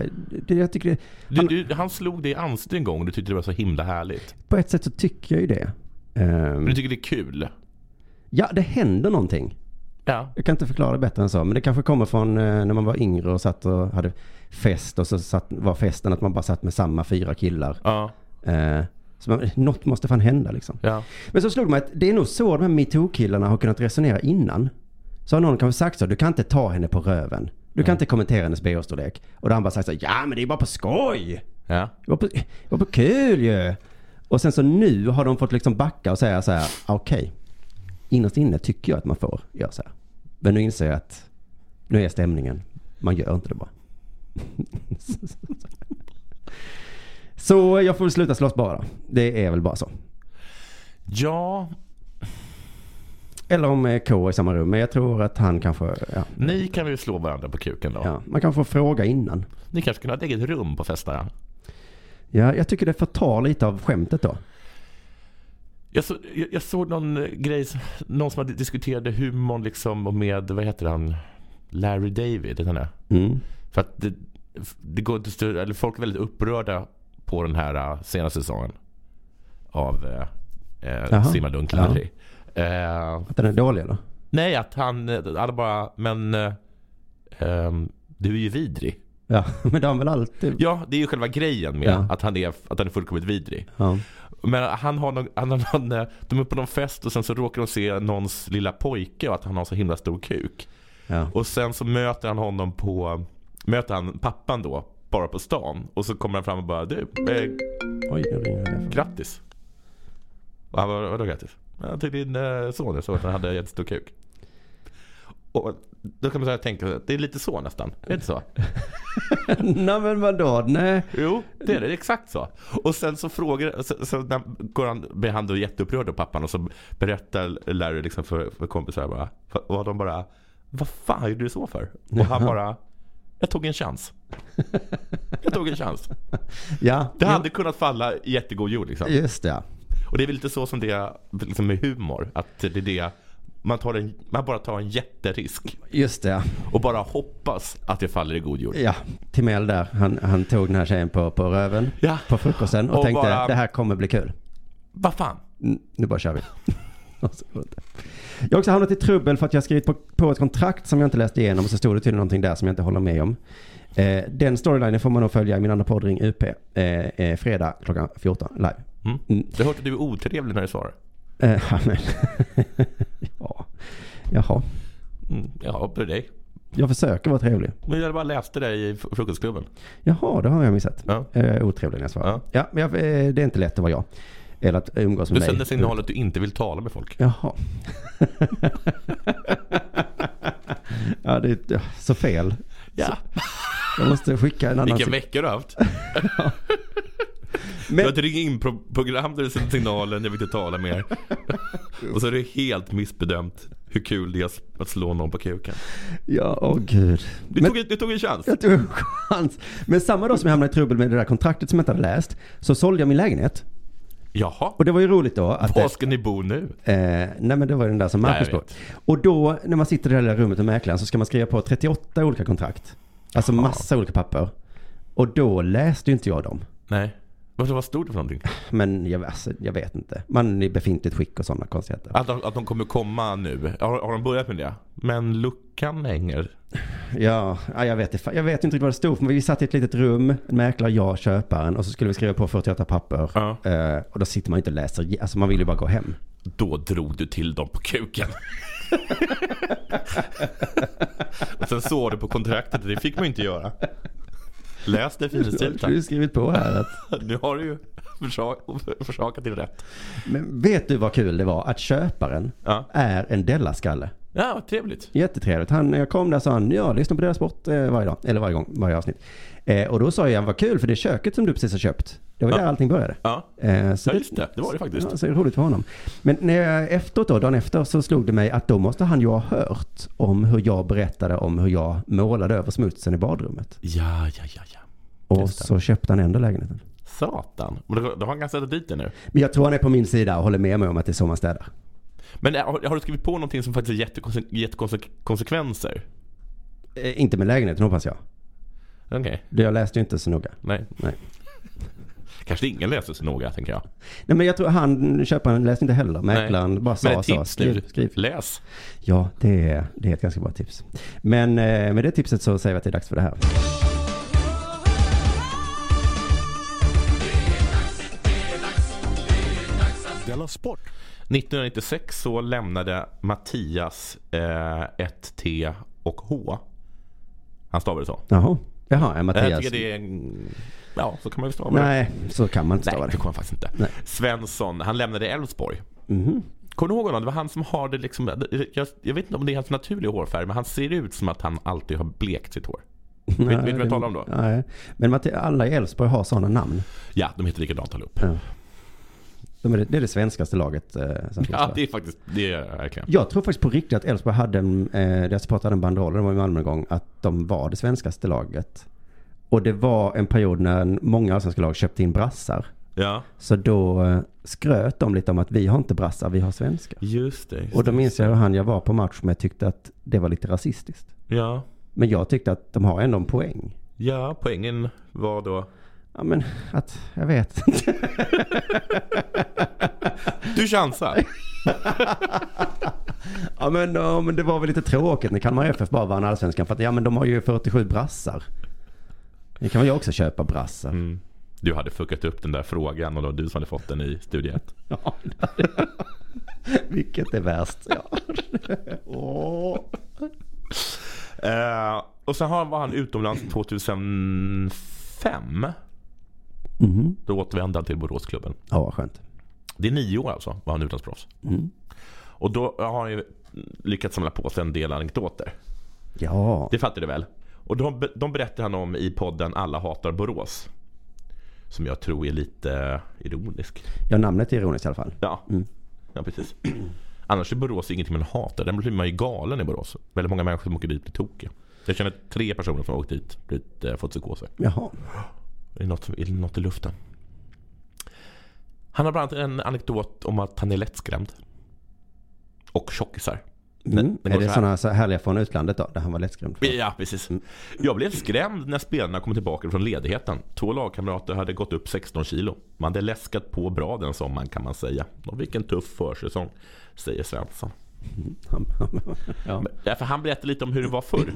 Speaker 1: det, jag tycker det,
Speaker 4: Du, du, han slog dig i ansiktet en gång och du tyckte det var så himla härligt.
Speaker 1: på ett sätt så tycker jag ju det. Ehm,
Speaker 4: Men du tycker det är kul?
Speaker 1: ja, det händer någonting.
Speaker 4: Ja.
Speaker 1: Jag kan inte förklara det bättre än så, men det kanske kommer från eh, när man var yngre och satt och hade fest och så satt, var festen att man bara satt med samma fyra killar.
Speaker 4: Ja.
Speaker 1: Eh, så man, något måste fan hända liksom.
Speaker 4: ja.
Speaker 1: Men så slog det mig att det är nog så de här metoo-killarna har kunnat resonera innan. Så har någon kanske sagt så, du kan inte ta henne på röven. Du kan inte kommentera hennes bh-storlek. Och då har han bara sagt så, ja men det är bara på skoj!
Speaker 4: ja.
Speaker 1: Det var på, det var på kul ju! Och sen så nu har de fått liksom backa och säga så här, "Ah, okej. innerst inne tycker jag att man får göra så här. Men nu inser jag att nu är stämningen, man gör inte det bara. så jag får väl sluta slåss bara. Det är väl bara så.
Speaker 4: Ja,
Speaker 1: Eller om eh, K är i samma rum. Men jag tror att han kanske... Ja,
Speaker 4: ni kan väl slå varandra på kuken då?
Speaker 1: ja, man kan få fråga innan.
Speaker 4: Ni kanske kunde ha ett eget rum på festerna?
Speaker 1: Ja, jag tycker det förtar lite av skämtet då.
Speaker 4: Jag, så, jag, jag såg någon eh, grej, som- någon som hade diskuterade humorn liksom och med, vad heter han, Larry David, heter han det?
Speaker 1: Mm.
Speaker 4: För att det, det går inte större, eller folk är väldigt upprörda på den här eh, senaste säsongen av eh, eh,
Speaker 1: Jaha.
Speaker 4: Simadunk Larry. Eh,
Speaker 1: Att den är dålig eller?
Speaker 4: nej, att han, eh, alla bara, men eh, ehm, du är ju vidrig.
Speaker 1: Ja, men det har han väl alltid...
Speaker 4: Ja, det är ju själva grejen med
Speaker 1: Ja.
Speaker 4: att, han är, att han är fullkomligt vidrig.
Speaker 1: Ja.
Speaker 4: Men han har någon, han har någon, eh, de är på någon fest och sen så råkar de se någons lilla pojke och att han har så himla stor kuk.
Speaker 1: ja.
Speaker 4: Och sen så möter han honom på, möter han pappan då, bara på stan. Och så kommer han fram och bara du, eh,
Speaker 1: Oj, nu ringer det. därifrån.
Speaker 4: grattis. Och han bara, vadå grattis? Ja, till din eh, son, jag såg att han hade jättestor kuk. Och då kan man så här tänka, att det är lite så nästan. Är det inte så?
Speaker 1: Nej men vadå? Nej.
Speaker 4: Jo, det är det. Det är Exakt så. Och sen så frågar, så, så när, går han, blir han då jätteupprörd av pappan och så berättar Larry liksom för, för kompisar bara. Och de bara, vad fan gjorde du så för? Och han bara, jag tog en chans. Jag tog en chans.
Speaker 1: Ja.
Speaker 4: Det hade kunnat falla i jättegod jord liksom.
Speaker 1: Just det. ja.
Speaker 4: Och det är väl lite så som det är liksom med humor. Att det är det, man, tar en, man bara tar en jätterisk.
Speaker 1: Just det. ja.
Speaker 4: Och bara hoppas att det faller i god jord.
Speaker 1: Ja. Timell där, han, han tog den här tjejen på, på röven.
Speaker 4: Ja.
Speaker 1: På frukosten och,
Speaker 4: Och
Speaker 1: tänkte
Speaker 4: bara-
Speaker 1: det här kommer bli kul.
Speaker 4: Vad fan?
Speaker 1: Mm, Nu bara kör vi. Och så går det inte. Jag har också hamnat i trubbel för att jag skrivit på, på ett kontrakt som jag inte läste igenom och så stod det tydligen någonting där som jag inte håller med om. Eh, den storylinen får man nog följa i min andra podd Ring UP. Eh, eh, fredag klockan 14 live.
Speaker 4: Mm.
Speaker 1: Mm.
Speaker 4: Jag har hört att du är otrevlig när du svarar.
Speaker 1: Eh, ja, men. ja. Jaha.
Speaker 4: Mm, ja, det är dig.
Speaker 1: Jag försöker vara trevlig.
Speaker 4: Men jag bara läste det i fr- frukostklubben.
Speaker 1: Jaha, det har jag missat.
Speaker 4: Ja.
Speaker 1: Eh, otrevlig när jag svarar.
Speaker 4: Ja.
Speaker 1: Ja. men jag, eh, det är inte lätt att vara jag. Eller att umgås
Speaker 4: Du
Speaker 1: med
Speaker 4: sänder
Speaker 1: mig.
Speaker 4: signalen att du inte vill tala med folk.
Speaker 1: Jaha. ja, det är så fel.
Speaker 4: Ja.
Speaker 1: Jag måste skicka en annan.
Speaker 4: Vilken
Speaker 1: sig-
Speaker 4: vecka du har haft. Du har
Speaker 1: Men
Speaker 4: ett ring-in-program där du sänder signalen, jag vill inte tala mer. Och så är det helt missbedömt hur kul det är att slå någon på kuken.
Speaker 1: ja, åh gud.
Speaker 4: Du,
Speaker 1: Men-
Speaker 4: tog, en- du tog en chans.
Speaker 1: Jag tog en chans. Men samma dag som jag hamnade i trubbel med det där kontraktet som jag inte hade läst. Så sålde jag min lägenhet.
Speaker 4: Jaha,
Speaker 1: Och det var ju roligt då. Att
Speaker 4: var ska ni bo nu?
Speaker 1: Eh, nej men det var ju den där som
Speaker 4: Nej,
Speaker 1: Marcus på.
Speaker 4: jag vet.
Speaker 1: Och då när man sitter i det där lilla rummet med mäklaren så ska man skriva på 38 olika kontrakt. Alltså massa olika papper. Och då läste ju inte jag dem.
Speaker 4: Nej. Varför, vad stod det för någonting?
Speaker 1: Men jag, alltså, jag vet inte. Man är i befintligt skick och sådana konstigheter.
Speaker 4: Att de, att de kommer komma nu. Har, har de börjat med det? Men luckan hänger.
Speaker 1: Ja, ja, jag vet, inte- jag vet inte riktigt vad det stod för. Men vi satt i ett litet rum, en mäklare, jag, köparen. Och så skulle vi skriva på 48 papper.
Speaker 4: Ja.
Speaker 1: Eh, och då sitter man ju inte och läser. Alltså man vill ju bara gå hem.
Speaker 4: Då drog du till dem på kuken. Och sen såg du på kontraktet, det fick man ju inte göra. Läs det
Speaker 1: Du har ju
Speaker 4: finstilta.
Speaker 1: skrivit på här att
Speaker 4: Nu har du ju försak- försakat din rätt.
Speaker 1: Men vet du vad kul det var? Att köparen
Speaker 4: Ja.
Speaker 1: är en Della-skalle.
Speaker 4: Ja, vad trevligt.
Speaker 1: Jättetrevligt. Han, när jag kom där sa han, jag lyssnar på deras sport eh, varje dag. Eller varje gång, varje avsnitt. Eh, och då sa jag, vad kul för det köket som du precis har köpt. Det var
Speaker 4: Ja.
Speaker 1: där allting började.
Speaker 4: Ja.
Speaker 1: Eh, så
Speaker 4: Ja, just det. Det var det faktiskt.
Speaker 1: Ja, så är det roligt för honom. Men när jag, efteråt då, dagen efter så slog det mig att då måste han ju ha hört om hur jag berättade om hur jag målade över smutsen i badrummet.
Speaker 4: Ja, ja, ja, ja.
Speaker 1: Och
Speaker 4: Just det.
Speaker 1: så köpte han ändå lägenheten.
Speaker 4: Satan. Men då, då har han ganska dit det nu.
Speaker 1: Men jag tror han är på min sida och håller med mig om att det är så man städar.
Speaker 4: Men eh, har, har du skrivit på någonting som faktiskt har jättekonse- jättekonsekvenser?
Speaker 1: Eh, inte med lägenheten hoppas jag.
Speaker 4: Okej,
Speaker 1: Det jag läste ju inte så noga.
Speaker 4: nej.
Speaker 1: Nej.
Speaker 4: Kanske ingen läser så noga, tänker jag.
Speaker 1: Nej men jag tror han, köparen läste inte heller. Mäklaren bara sa
Speaker 4: Men ett
Speaker 1: så.
Speaker 4: tips nu.
Speaker 1: Skriv, skriv.
Speaker 4: Läs.
Speaker 1: Ja, det är, det är ett ganska bra tips. Men eh, med det tipset så säger vi att det är dags för det här.
Speaker 2: Della Sport!
Speaker 4: 1996 så lämnade Mattias eh, ett T och H. Han stavade det så.
Speaker 1: Jaha. Jaha, ja,
Speaker 4: Eh, Jag
Speaker 1: Mattias.
Speaker 4: tycker det är... en- Ja, så kan man ju stava det.
Speaker 1: Nej, så kan man inte stava
Speaker 4: Nej, det
Speaker 1: det.
Speaker 4: kommer han faktiskt inte.
Speaker 1: Nej.
Speaker 4: Svensson, han lämnade Elfsborg.
Speaker 1: Mhm.
Speaker 4: Kommer du ihåg honom? Det var han som har det liksom... Jag, jag vet inte om det är hans naturliga hårfärg, men han ser ut som att han alltid har blekt sitt hår.
Speaker 1: Nej,
Speaker 4: vet du vad jag
Speaker 1: det-
Speaker 4: talar om då?
Speaker 1: Nej. Men Matte, alla i Elfsborg har sådana namn.
Speaker 4: Ja, de heter likadant allihop.
Speaker 1: Ja. De är, det är det svenskaste laget eh, som finns.
Speaker 4: Ja,
Speaker 1: va?
Speaker 4: det är faktiskt... Det är verkligen.
Speaker 1: Jag tror faktiskt på riktigt att Elfsborg hade en, eh, deras support hade en banderoll, de var i Malmö en gång, att de var det svenskaste laget. Och det var en period när många allsvenska lag köpte in brassar.
Speaker 4: Ja,
Speaker 1: Så då eh, skröt de lite om att vi har inte brassar, vi har svenskar.
Speaker 4: just det. Just
Speaker 1: Och då
Speaker 4: det.
Speaker 1: minns jag hur han jag var på match med tyckte att det var lite rasistiskt.
Speaker 4: Ja,
Speaker 1: Men jag tyckte att de har ändå en poäng.
Speaker 4: ja, poängen var då...
Speaker 1: Ja men att, jag vet inte.
Speaker 4: Du chansar!
Speaker 1: Ja men, ja men det var väl lite tråkigt när Kalmar FF bara vann allsvenskan för att ja men de har ju 47 brassar. Det kan väl jag också köpa brassar.
Speaker 4: Mm. Du hade fuckat upp den där frågan och då var du som hade fått den i studie 1.
Speaker 1: Ja, vilket är värst? Ja. Åh.
Speaker 4: Eh, och sen har- var han utomlands 2005.
Speaker 1: Mhm.
Speaker 4: Då återvände han till Boråsklubben.
Speaker 1: Ja, vad skönt.
Speaker 4: Det är nio år alltså var han utlandsproffs.
Speaker 1: Mm.
Speaker 4: Och då har han ju lyckats samla på sig en del anekdoter.
Speaker 1: Ja,
Speaker 4: Det fattar du väl? Och de, de berättar han om i podden Alla hatar Borås. Som jag tror är lite ironisk.
Speaker 1: ja namnet är ironiskt i alla fall.
Speaker 4: Ja,
Speaker 1: Mm.
Speaker 4: ja precis. Annars är Borås ingenting man hatar. Den blir man ju galen i Borås. Väldigt många människor som åker dit blir tokiga. Jag känner tre personer som har åkt dit blivit, eh, fått psykoser.
Speaker 1: Jaha.
Speaker 4: Är det, något, som- är det något i luften? Han har bland annat en anekdot om att han är lättskrämd. Och tjockisar.
Speaker 1: Mm.
Speaker 4: det går
Speaker 1: är det
Speaker 4: så här.
Speaker 1: sådana så härliga från utlandet då, där han var lättskrämd? för?
Speaker 4: Ja, precis. Jag blev skrämd när spelarna kom tillbaka från ledigheten. Två lagkamrater hade gått upp 16 kilo. Man hade läskat på bra den sommaren kan man säga. Och vilken tuff försäsong, säger Svensson.
Speaker 1: Mm. ja.
Speaker 4: Ja, för han berättade lite om hur det var förr.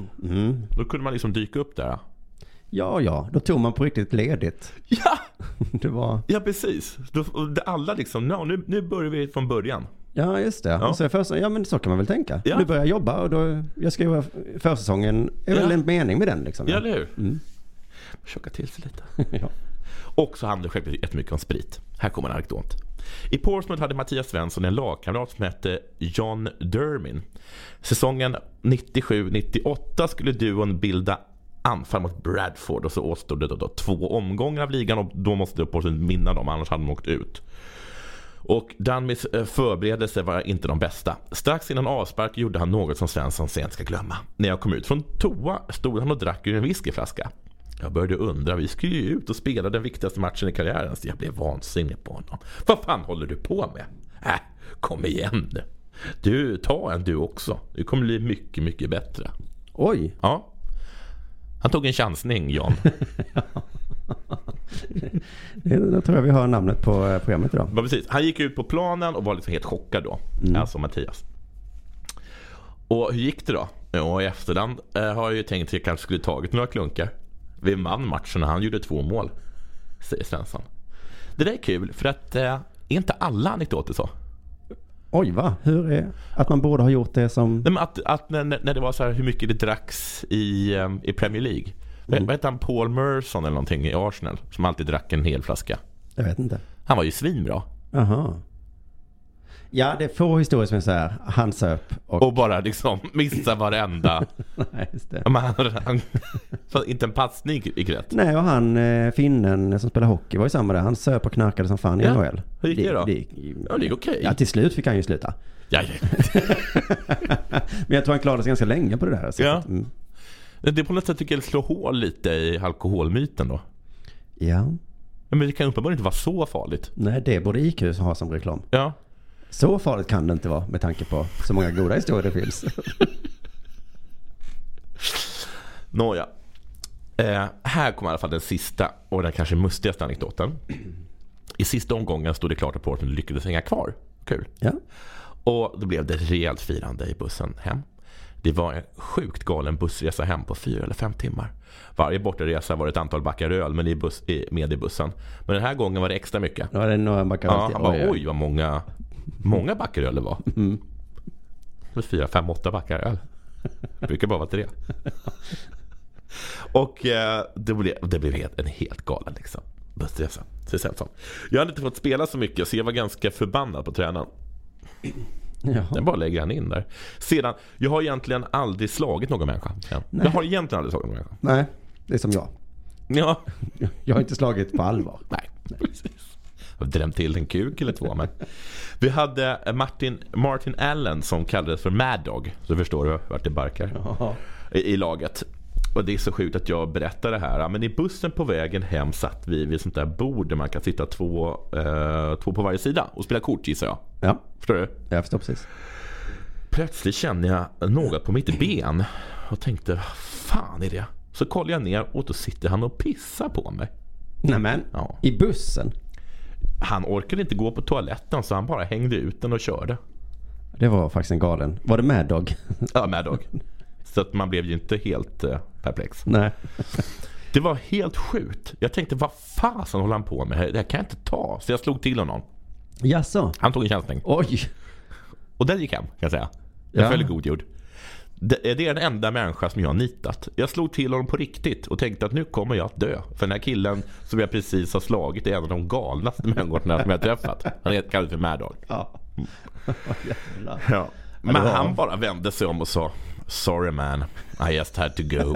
Speaker 4: Då kunde man liksom dyka upp där.
Speaker 1: Mm. ja, ja, då tog man på riktigt ledigt.
Speaker 4: Ja,
Speaker 1: Det var,
Speaker 4: ja precis. Då, och det- alla liksom, "Nå, nu, nu börjar vi från början.
Speaker 1: ja just det. Och så är försäsong, ja men så kan man väl tänka.
Speaker 4: Ja.
Speaker 1: Du börjar jobba och då, jag ska göra försäsongen, är väl
Speaker 4: Ja.
Speaker 1: en mening med den liksom.
Speaker 4: Ja, eller hur? Tjocka Mm. till sig lite.
Speaker 1: ja.
Speaker 4: Och så handlar det självklart jättemycket om sprit. Här kommer en anekdot. I Portsmouth hade Mattias Svensson en lagkamrat som hette John Dermin. Säsongen 97-98 skulle duon bilda anfall mot Bradford och så återstod det då, då två omgångar av ligan och då måste Portsmouth vinna dem annars hade de åkt ut. Och Danmys eh, förberedelser var inte de bästa. Strax innan avspark gjorde han något som Svensson sent ska glömma. När jag kom ut från toa stod han och drack ur en whiskyflaska. Jag började undra, vi skulle ju ut och spela den viktigaste matchen i karriären. Så jag blev vansinnig på honom. Vad fan håller du på med? Äh, kom igen nu. Du, ta en du också. Du kommer bli mycket, mycket bättre.
Speaker 1: Oj!
Speaker 4: Ja. Han tog en chansning, Jan.
Speaker 1: Det, då tror jag vi har namnet på eh, programmet idag.
Speaker 4: Ja, precis. Han gick ut på planen och var liksom helt chockad då. Alltså Mattias. Och hur gick det då? Ja, i efterhand eh, har jag ju tänkt att jag kanske skulle tagit några klunkar. Vi vann matchen och han gjorde två mål. Säger Svensson. Det där är kul för att eh, är inte alla anekdoter så?
Speaker 1: Oj va? Hur är... Att man borde ha gjort det som...
Speaker 4: Nej, men att, att när, när det var så här hur mycket det dracks i, eh, i Premier League. Vad- Vad hette han? Paul Merson eller någonting i Arsenal. Som alltid drack en hel flaska.
Speaker 1: Jag vet inte.
Speaker 4: Han var ju svinbra.
Speaker 1: Jaha. Ja, det är få historier som är så här. Han söp och...
Speaker 4: Och bara liksom missade varenda
Speaker 1: Nej, just det.
Speaker 4: Ja, Men han, han, fast inte en passning gick rätt.
Speaker 1: Nej, och han eh, finnen som spelar hockey var ju samma där. Han söp och knarkade som fan i
Speaker 4: Ja.
Speaker 1: NHL.
Speaker 4: Hur gick det då? Ja, det gick okej.
Speaker 1: Ja, till slut fick han ju sluta.
Speaker 4: Ja,
Speaker 1: Men jag tror han klarade sig ganska länge på det där. Så
Speaker 4: Ja.
Speaker 1: att, mm.
Speaker 4: ja. Det är på något sätt tycker jag slår hål lite i alkoholmyten då.
Speaker 1: ja.
Speaker 4: Ja, Men det kan uppenbarligen inte vara så farligt.
Speaker 1: Nej, det borde IQ ha som reklam.
Speaker 4: Ja.
Speaker 1: Så farligt kan det inte vara med tanke på så många goda historier det finns.
Speaker 4: Nåja. Eh, här kommer i alla fall den sista och den kanske mustigaste anekdoten. I sista omgången stod det klart att Portland lyckades hänga kvar. Kul.
Speaker 1: Ja.
Speaker 4: Och då blev det rejält firande i bussen hem. Det var en sjukt galen bussresa hem på fyra eller fem timmar. Varje bortaresa var ett antal backar öl men i bus, i, med i bussen. Men den här gången var det extra mycket.
Speaker 1: Då var det några backar
Speaker 4: Ja, han bara, oj Mm. vad många, många backar öl det var. Det var Fyra, fem, åtta backar öl. Det brukar bara vara tre. Och eh, det blev, det blev helt, en helt galen liksom. bussresa. Så det är så. Jag hade inte fått spela så mycket så jag var ganska förbannad på tränaren.
Speaker 1: Ja.
Speaker 4: Den bara lägger han in där. Sedan, jag har egentligen aldrig slagit någon människa. än. Jag har egentligen aldrig slagit någon människa.
Speaker 1: Nej, det är som jag.
Speaker 4: Ja,
Speaker 1: Jag har inte slagit på allvar.
Speaker 4: Nej, precis. Jag drämde till en kuk eller två. Men. Vi hade Martin, Martin Allen som kallades för Mad Dog. Så förstår du vart det barkar i, i laget. Och det är så sjukt att jag berättar det här. Men i bussen på vägen hem satt vi vid sånt där bord där man kan sitta två, eh, två på varje sida och spela kort gissar jag.
Speaker 1: Ja,
Speaker 4: Förstår du?
Speaker 1: jag förstår precis.
Speaker 4: Plötsligt kände jag något på mitt ben och tänkte, vad fan är det? Så kollar jag ner och då sitter han och pissar på mig.
Speaker 1: Nämen,
Speaker 4: Ja.
Speaker 1: i bussen.
Speaker 4: Han orkade inte gå på toaletten så han bara hängde ut den och körde.
Speaker 1: Det var faktiskt en galen. Var det Mad Dog?
Speaker 4: Ja, Mad Dog. Så att man blev ju inte helt eh, perplex.
Speaker 1: Nej.
Speaker 4: Det var helt sjukt. Jag tänkte, vad fasen håller han på med? här? Det här kan jag inte ta. Så jag slog till honom.
Speaker 1: Jaså?
Speaker 4: Han tog en chansning.
Speaker 1: Oj.
Speaker 4: Och den gick hem, kan jag säga. Jag
Speaker 1: Ja.
Speaker 4: föll i god jord. Det det är den enda människa som jag har nitat. Jag slog till honom på riktigt och tänkte att nu kommer jag att dö. För den här killen som jag precis har slagit är en av de galnaste människorna som jag har träffat. Han heter kallad för Mad Dog. Mm.
Speaker 1: Ja. Jävlar.
Speaker 4: Ja. Men
Speaker 1: det var
Speaker 4: han
Speaker 1: han.
Speaker 4: bara vände sig om och sa Sorry man, I just had to go.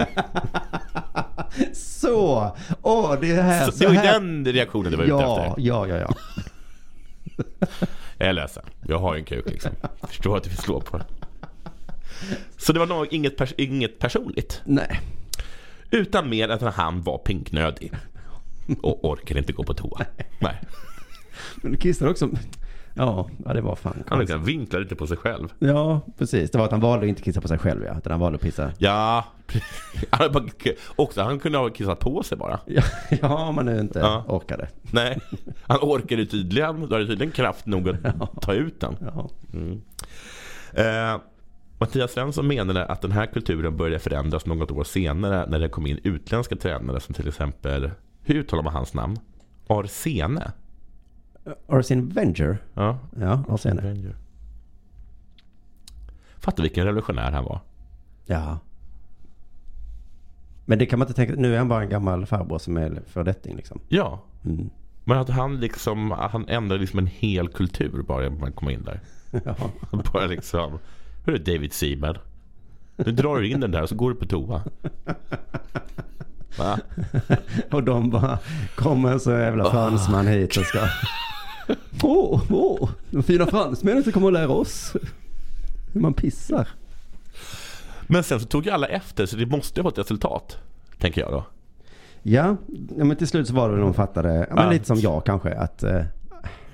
Speaker 1: Så! Åh, det är här.
Speaker 4: Så
Speaker 1: Äh, Så,
Speaker 4: det var ju
Speaker 1: här.
Speaker 4: den reaktionen du var ute
Speaker 1: ja,
Speaker 4: efter.
Speaker 1: ja, ja, ja.
Speaker 4: Jag är ledsen. Jag har ju en kuk liksom. Förstår att du vill slå på den. Så det var nog inget, pers- inget personligt.
Speaker 1: Nej.
Speaker 4: Utan mer att han var pinknödig. Och orkade inte gå på toa. Nej.
Speaker 1: Men du kissade också. Ja, ja, det var fan
Speaker 4: Han
Speaker 1: konstigt.
Speaker 4: liksom vinklade lite på sig själv.
Speaker 1: Ja, precis. Det var att han valde att inte kissa på sig själv ja. Utan han valde att pissa.
Speaker 4: Ja. Han, hade bara, också, han kunde ha kissat på sig bara.
Speaker 1: Ja, ja om man nu inte
Speaker 4: Ja.
Speaker 1: orkade.
Speaker 4: Nej. Han orkade tydligen. Då hade tydligen kraft nog att ta ut den.
Speaker 1: Ja.
Speaker 4: Eh, Mattias Svensson menade att den här kulturen började förändras något år senare när det kom in utländska tränare som till exempel, hur uttalar man hans namn? Arsene?
Speaker 1: Arsene Venger.
Speaker 4: Ja,
Speaker 1: Ja, Arsene.
Speaker 4: Wenger. Fattar vilken revolutionär han var.
Speaker 1: Ja. Men det kan man inte tänka Nu är han bara en gammal farbror som är föredetting liksom.
Speaker 4: Ja,
Speaker 1: Mm.
Speaker 4: men att han liksom, han ändrade liksom en hel kultur bara genom att komma in där.
Speaker 1: Ja.
Speaker 4: Bara liksom, hur är David Seaman? Nu drar du in den där och så går du på toa. Va?
Speaker 1: Och de bara kommer så jävla fransman hit och ska... Åh, åh, de fina fransmännen som kommer och lära oss hur man pissar.
Speaker 4: Men sen så tog ju alla efter så det måste ju ha ett resultat. Tänker jag då.
Speaker 1: Ja, ja, men till slut så var det de fattade, ja, men
Speaker 4: Ja.
Speaker 1: lite som jag kanske, att eh,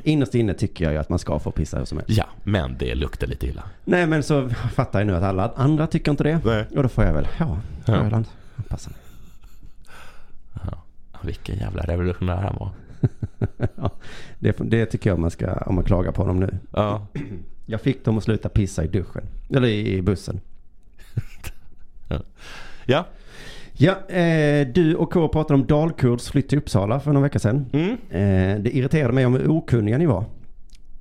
Speaker 1: innerst inne tycker jag ju att man ska få pissa hur som helst.
Speaker 4: Ja, men det luktar lite illa.
Speaker 1: Nej men så fattar jag nu att alla andra tycker inte det.
Speaker 4: Nej.
Speaker 1: Och då får jag väl, ja,
Speaker 4: Ja.
Speaker 1: Öland. Passar.
Speaker 4: Vilken jävla revolutionär han var.
Speaker 1: Det, det tycker jag man ska, om man klagar på dem nu.
Speaker 4: Ja.
Speaker 1: Jag fick dem att sluta pissa i duschen. Eller i, i bussen.
Speaker 4: Ja.
Speaker 1: Ja, eh, du och K pratade om dalkurds flytt till Uppsala för någon vecka sedan.
Speaker 4: Mm.
Speaker 1: Eh, det irriterade mig om hur okunniga ni var.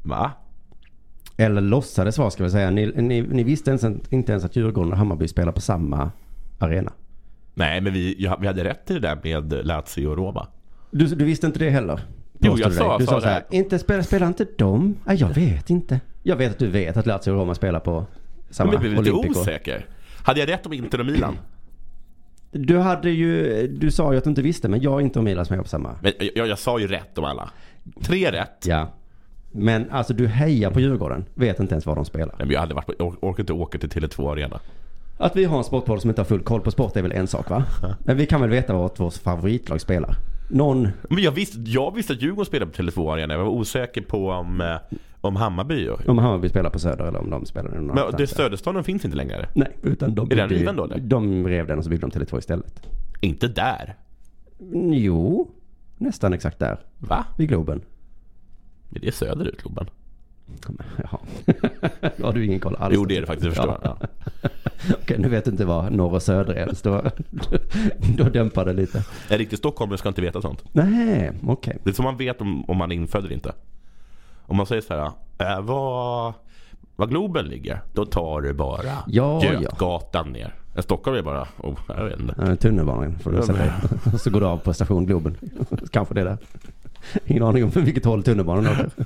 Speaker 4: Va?
Speaker 1: Eller låtsades vara ska vi säga. Ni, ni, ni visste ens, inte ens att Djurgården och Hammarby spelar på samma arena.
Speaker 4: Nej, men vi, ja, vi hade rätt i det där med Lazio och Roma.
Speaker 1: Du, du visste inte det heller?
Speaker 4: Jo,
Speaker 1: påstod
Speaker 4: jag
Speaker 1: du
Speaker 4: sa-
Speaker 1: dig. Du
Speaker 4: sa
Speaker 1: sa så
Speaker 4: det.
Speaker 1: här, inte spelar, spelar inte de? Nej, jag vet inte. Jag vet att du vet att Lazio och Roma spelar på
Speaker 4: Men
Speaker 1: samma
Speaker 4: jag blev lite
Speaker 1: Olympico.
Speaker 4: osäker. Hade jag rätt om Inter och Milan?
Speaker 1: Du hade ju, du sa ju att du inte visste, men jag inte och Milan som är på samma.
Speaker 4: Men jag, jag, jag sa ju rätt om alla. Tre rätt.
Speaker 1: Ja. Men alltså du hejar på Djurgården, vet inte ens var de spelar.
Speaker 4: Nej, men jag hade varit på, jag orkar inte åka till Tele2 Arena.
Speaker 1: Att vi har en sportpodd som inte har full koll på sport är väl en sak va? Men vi kan väl veta vart vårt favoritlag spelar? Någon,
Speaker 4: Men jag visste, jag visste att Djurgården spelade på Tele2 Arena. Jag var osäker på om, eh, om Hammarby. och-
Speaker 1: om Hammarby spelar på Söder eller om de spelar någon
Speaker 4: Men det
Speaker 1: annanstans.
Speaker 4: Söderstaden finns inte längre.
Speaker 1: Nej, utan de
Speaker 4: Är den
Speaker 1: byggde ju-
Speaker 4: riven då, eller?
Speaker 1: De rev den och så byggde de Tele2 istället.
Speaker 4: Inte där.
Speaker 1: Jo, nästan exakt där.
Speaker 4: Va?
Speaker 1: Vid Globen.
Speaker 4: Men det är söderut Lobban.
Speaker 1: Jaha. Då har du ingen koll alls.
Speaker 4: Jo det är det faktiskt, jag förstår.
Speaker 1: Ja.
Speaker 4: Ja.
Speaker 1: Okej, nu vet du inte vad norr och söder är ens. Då, då dämpar det lite.
Speaker 4: En riktig stockholmare ska inte veta sånt.
Speaker 1: Nej, okej.
Speaker 4: Det är som man vet om, om man är infödd eller inte. Om man säger så här, äh, var, var Globen ligger, då tar du bara
Speaker 1: Ja, ja.
Speaker 4: Götgatan ner. En stockholmare är bara, oh, jag vet inte.
Speaker 1: Eh, Tunnelbanan får du sätta dig. Så går du av på station Globen. Kanske det är där. Ingen aning om vilket håll tunnelbanan åker.